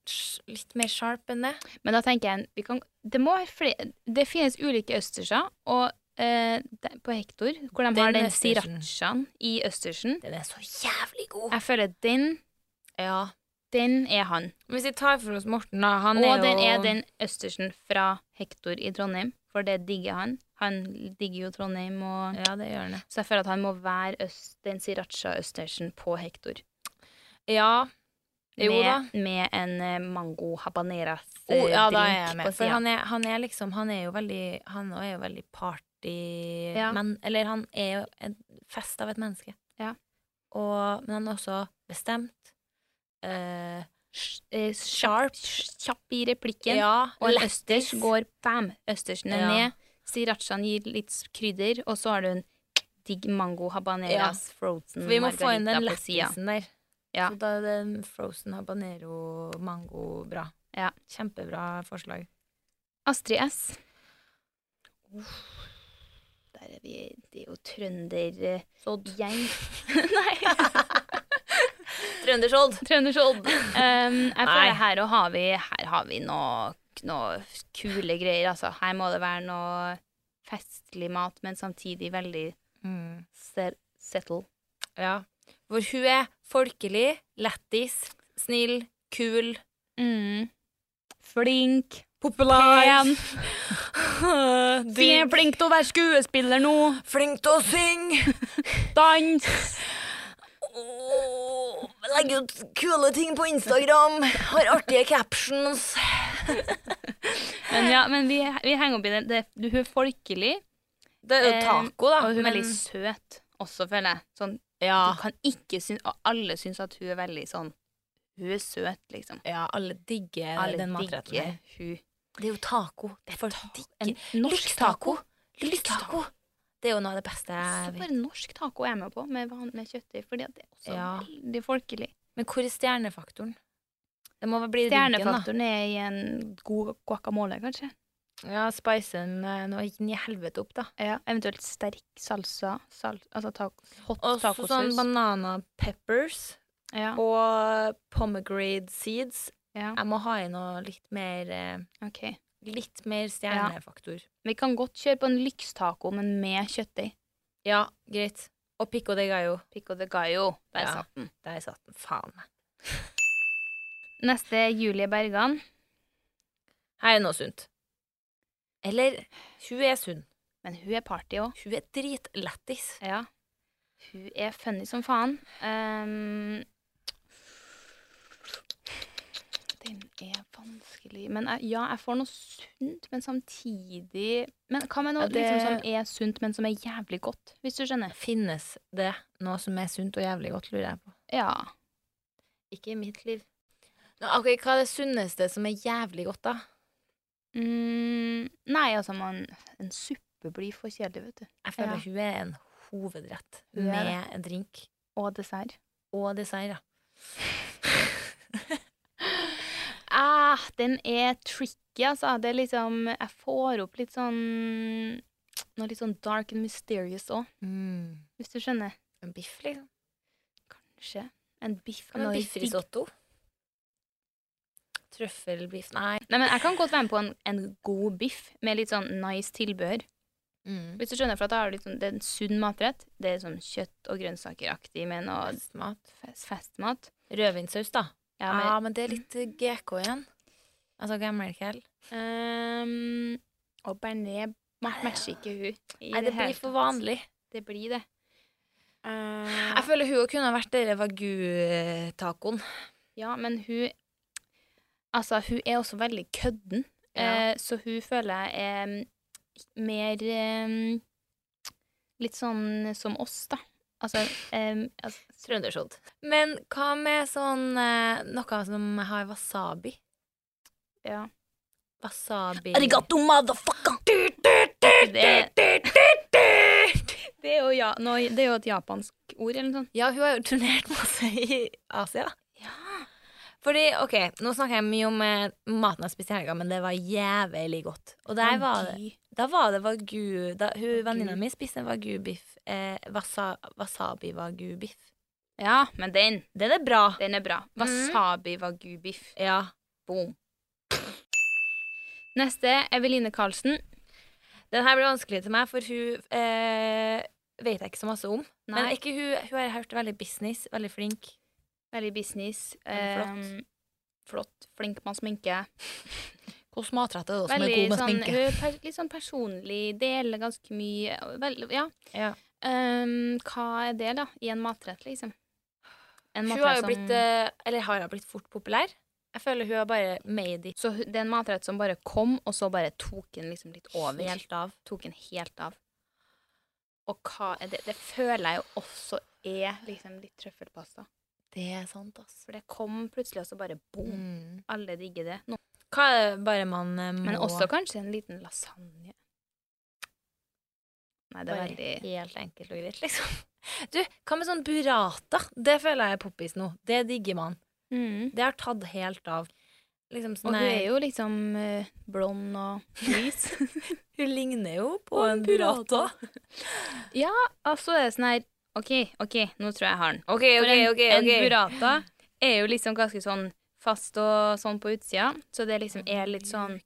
S1: sj- Litt mer sharp enn det?
S2: Men da tenker jeg vi kan, det, må være flere, det finnes ulike østerser, og eh, de- på Hektor, hvor de
S1: Den
S2: har den
S1: østersen.
S2: srirachaen i østersen.
S1: Den er så jævlig god!
S2: Jeg føler den,
S1: Ja.
S2: den er han.
S1: Hvis vi tar for oss Morten, da. Han
S2: og
S1: er
S2: den
S1: jo
S2: er den østersen fra Hektor i Trondheim, for det digger han. Han digger jo Trondheim, og,
S1: Ja, det gjør han.
S2: så jeg føler at han må være øst, den sriracha-østersen på Hektor.
S1: Ja. Jo
S2: med,
S1: da.
S2: Med en eh, mango habaneras-drink
S1: Oh, ja, da er jeg med.
S2: på
S1: For
S2: sida.
S1: han er, han er liksom Han er jo veldig Han også er jo veldig party
S2: Ja.
S1: men, Eller han er jo en fest av et menneske.
S2: Ja.
S1: Og, men han er også bestemt. eh,
S2: Sharp. Kjapp i replikken.
S1: ja,
S2: Og en
S1: lættis.
S2: østers går bam, østersen er
S1: Ja.
S2: ned. Srirachaen gir litt krydder, og så har du en digg mango habaneras frozen
S1: For Vi må få inn den
S2: margarita på sida.
S1: lettisen der.
S2: Ja.
S1: Så da er den frozen habanero mango bra.
S2: Ja.
S1: Kjempebra forslag.
S2: Astrid S. Der er vi Det er jo eh, trøndergjeng.
S1: Trøndersodd!
S2: Trøndersodd. Um,
S1: Nei.
S2: jeg føler her og har vi Her har vi noe, noe kule greier, altså. Her må det være noe festlig mat, men samtidig veldig
S1: Mm.
S2: ser- settle.
S1: Ja. Hvor hun er folkelig, lættis, snill, kul.
S2: Mm. Flink.
S1: Populær!
S2: Fin, flink til å være skuespiller nå.
S1: Flink til å synge!
S2: Dans.
S1: Åh, Legger ut kule ting på Instagram. Har artige captions.
S2: Men ja, men vi, vi henger opp i det. det du, hun er folkelig,
S1: Det er jo
S2: Eh,
S1: taco, da.
S2: og hun er
S1: men-
S2: veldig søt også, føler jeg. Sånn,
S1: ja.
S2: du kan ikke synes, og alle syns at hun er veldig sånn Hun er søt, liksom.
S1: ja, alle digger
S2: Alle
S1: den matretten.
S2: digger
S1: her.
S2: hun.
S1: Det er jo taco. Det er for
S2: En
S1: digger.
S2: norsk
S1: Norsk
S2: taco.
S1: taco. Lyst taco. Det er jo noe av det beste jeg
S2: Så
S1: vet.
S2: bare norsk taco er jeg med på, med vanlig kjøttdeig, fordi at det er også
S1: Ja.
S2: veldig folkelig.
S1: Men hvor er stjernefaktoren? Det må vel bli ryggen,
S2: Stjernefaktoren er i en god guacamole, kanskje.
S1: da. Ja, spice den eh, nå gikk den i helvete opp, da.
S2: Ja, eventuelt sterk salsa, sal, altså taco, hot
S1: Og så
S2: tacosaus.
S1: sånn banana peppers
S2: ja,
S1: og pomegranate seeds.
S2: ja,
S1: Jeg må ha i noe litt mer eh,
S2: ok.
S1: Litt mer stjernefaktor.
S2: Vi kan godt kjøre på en lykstaco, men med kjøttdeig.
S1: Ja, greit. Og pico de gallo.
S2: Pico de gallo. Der
S1: Ja.
S2: satt den.
S1: Der satt den. Faen.
S2: Neste er Julie Bergan.
S1: Her er noe sunt. Eller hun er sunn.
S2: Men hun er party òg.
S1: Hun er dritlættis.
S2: Ja. Hun er funny som faen. Ehm, den er vanskelig Men jeg, ja, jeg får noe sunt, men samtidig Men hva med noe
S1: Ja, det-
S2: liksom, som er sunt, men som er jævlig godt? Hvis du skjønner?
S1: Finnes det noe som er sunt og jævlig godt, lurer jeg på.
S2: Ja.
S1: Ikke i mitt liv. Nå, ok, Hva er det sunneste som er jævlig godt, da?
S2: Mm, nei, altså, man En suppe blir for kjedelig, vet du.
S1: Jeg føler
S2: Ja.
S1: hun er en hovedrett
S2: Hun er
S1: med en drink
S2: Og dessert.
S1: og dessert. da.
S2: Ah, den er tricky, altså. Det er liksom Jeg får opp litt sånn Noe litt sånn dark and mysterious òg,
S1: mm.
S2: hvis du skjønner.
S1: En biff, liksom.
S2: Kanskje en biff
S1: Hva med
S2: noe digg.
S1: biffrisotto? Trøffelbiff Nei.
S2: Nei, men Jeg kan godt være med på en, en god biff med litt sånn nice tilbehør. Hvis du skjønner, for at da har du litt sånn, Det er en sunn matrett. Det er sånn kjøtt- og grønnsakeraktig med noe
S1: Festmat.
S2: fest, festmat.
S1: Rødvinsaus, da.
S2: Ja,
S1: Ja,
S2: men,
S1: men det er litt eh, GK igjen. Altså gammelkjell.
S2: Ehm, og bearnés matcher ikke hun. i
S1: Nei, det
S2: hele
S1: blir for
S2: tatt.
S1: vanlig. Eh,
S2: Det blir det.
S1: Jeg føler hun kunne ha vært dere Vagu-tacoen.
S2: Ja, men hun Altså, hun er også veldig kødden,
S1: Ja.
S2: eh, så hun føler jeg er mm, mer eh, Litt sånn som oss, da. Altså, eh, altså
S1: Trøndersodd. Men hva med sånn eh, noe som har wasabi?
S2: Ja.
S1: Wasabi
S2: motherfucker! Det, det er jo ja, nå, det er jo et japansk ord, eller noe sånt.
S1: Ja, hun har jo turnert masse i Asia.
S2: Ja.
S1: Fordi, ok, Nå snakker jeg mye om eh, maten jeg spiste i helga, men det var jævlig godt. Og der var det Da var det wagyu da, hun, Venninna mi spiste en wagyu-biff. Eh, wasa, Wasabi-wagyu-biff.
S2: Ja, men den,
S1: Den er bra.
S2: den er bra.
S1: Mm.
S2: Wasabi wagu-biff.
S1: Ja.
S2: Boom. Neste, Eveline Karlsen.
S1: Den her blir vanskelig til meg, for hun eh, vet jeg ikke så masse om. Men
S2: Nei,
S1: er ikke hun, hun har jeg hørt veldig business, veldig flink.
S2: veldig business.
S1: Veldig flott.
S2: ehm, flott. Flink med å sminke.
S1: Hvordan matrett er det
S2: Veldig sånn, hun er per, litt sånn personlig, deler ganske mye. og Veldig, ja.
S1: Ja.
S2: Ehm, hva er det, da? I en matrett, liksom? En
S1: Hun
S2: matrett
S1: har jo
S2: som-
S1: blitt, eh, eller har hun blitt fort populær? Jeg føler hun har bare made it
S2: Så hu- det er en matrett som bare kom, og så bare tok den liksom litt over.
S1: helt av.
S2: Tok den helt av. Og hva er det? Det føler jeg jo også er liksom litt trøffelpasta.
S1: Det er sant, ass.
S2: For det kom plutselig, og så bare boom.
S1: Mm.
S2: Alle digger det. Nå.
S1: Hva er det bare man eh, må
S2: Men også kanskje en liten lasagne. Nei, det er
S1: Bare
S2: veldig
S1: helt enkelt og greit, liksom. Du, hva med sånn burrata? Det føler jeg er poppis nå. Det digger man.
S2: mm.
S1: Det har tatt helt av. Liksom
S2: Og
S1: sånn
S2: hun
S1: her-
S2: er jo liksom eh, blond og lys.
S1: hun ligner jo på
S2: Og en
S1: en burrata.
S2: og så er det sånn her OK, OK, nå tror jeg jeg har den.
S1: OK,
S2: For en, en
S1: ok.
S2: burrata er jo liksom ganske sånn fast og sånn på utsida, så det liksom er litt sånn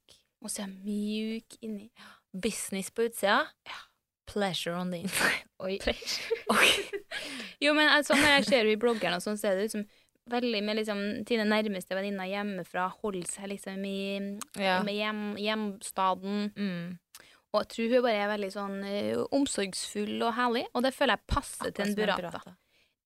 S2: Og så er jeg mjuk inni.
S1: Business på utsida. Pleasure on the inside. Oi. Ok.
S2: Jo, men altså, når jeg ser henne i bloggeren, og sånn, så er det liksom veldig med liksom, sine nærmeste venninner hjemmefra, holder seg liksom i
S1: Ja.
S2: med hjem, hjemstaden.
S1: Mm.
S2: Og jeg tror hun bare er veldig sånn eh, omsorgsfull og herlig, og det føler
S1: Mm.
S2: jeg passer til en burrata.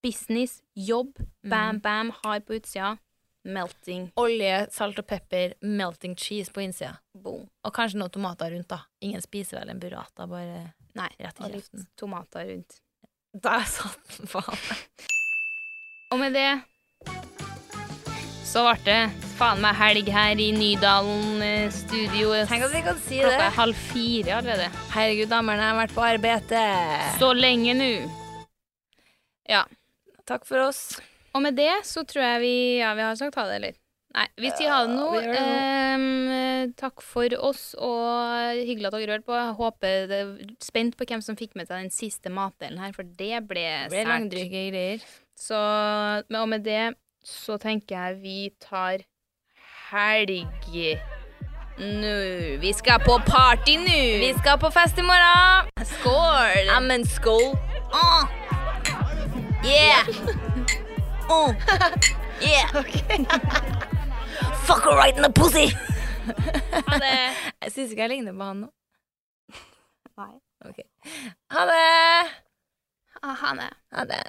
S2: Business, jobb, bam, bam, hard på utsida. Melting.
S1: Olje, salt og pepper, melting cheese på innsida.
S2: Boom.
S1: Og kanskje noen tomater rundt, da. Ingen spiser vel en burrata, bare
S2: Nei.
S1: rett i
S2: Og litt
S1: kjeften.
S2: tomater rundt.
S1: Der satt den, faen.
S2: Og med det så ble det faen meg helg her i Nydalen eh, studio.
S1: Tenk at vi kan si
S2: Klokka
S1: det.
S2: er halv fire allerede.
S1: Herregud, damerne, jeg har vært på arbeid.
S2: Så lenge nå.
S1: Takk for oss.
S2: Og med det så tror jeg vi Ja, vi har sagt ha det, eller? Nei, vi sier ha det nå.
S1: Ja, vi gjør det
S2: Ehm, takk for oss, og hyggelig at dere hørte på. Jeg håper det spent på hvem som fikk med seg den siste matdelen her, for det ble,
S1: Ble
S2: sært.
S1: langdryge greier.
S2: Så, men- og med det så tenker jeg vi tar helg nå. Vi skal på party nå!
S1: Vi skal på fest i morgen!
S2: Skål!
S1: Ammen skål! Åh! Uh. Yeah! Åh! Yeah! Fuck her right in the pussy!
S2: Ha det!
S1: Jeg syns ikke jeg ligner på han nå.
S2: Nei.
S1: Ok. Ha det!
S2: Ha det.
S1: Ha det.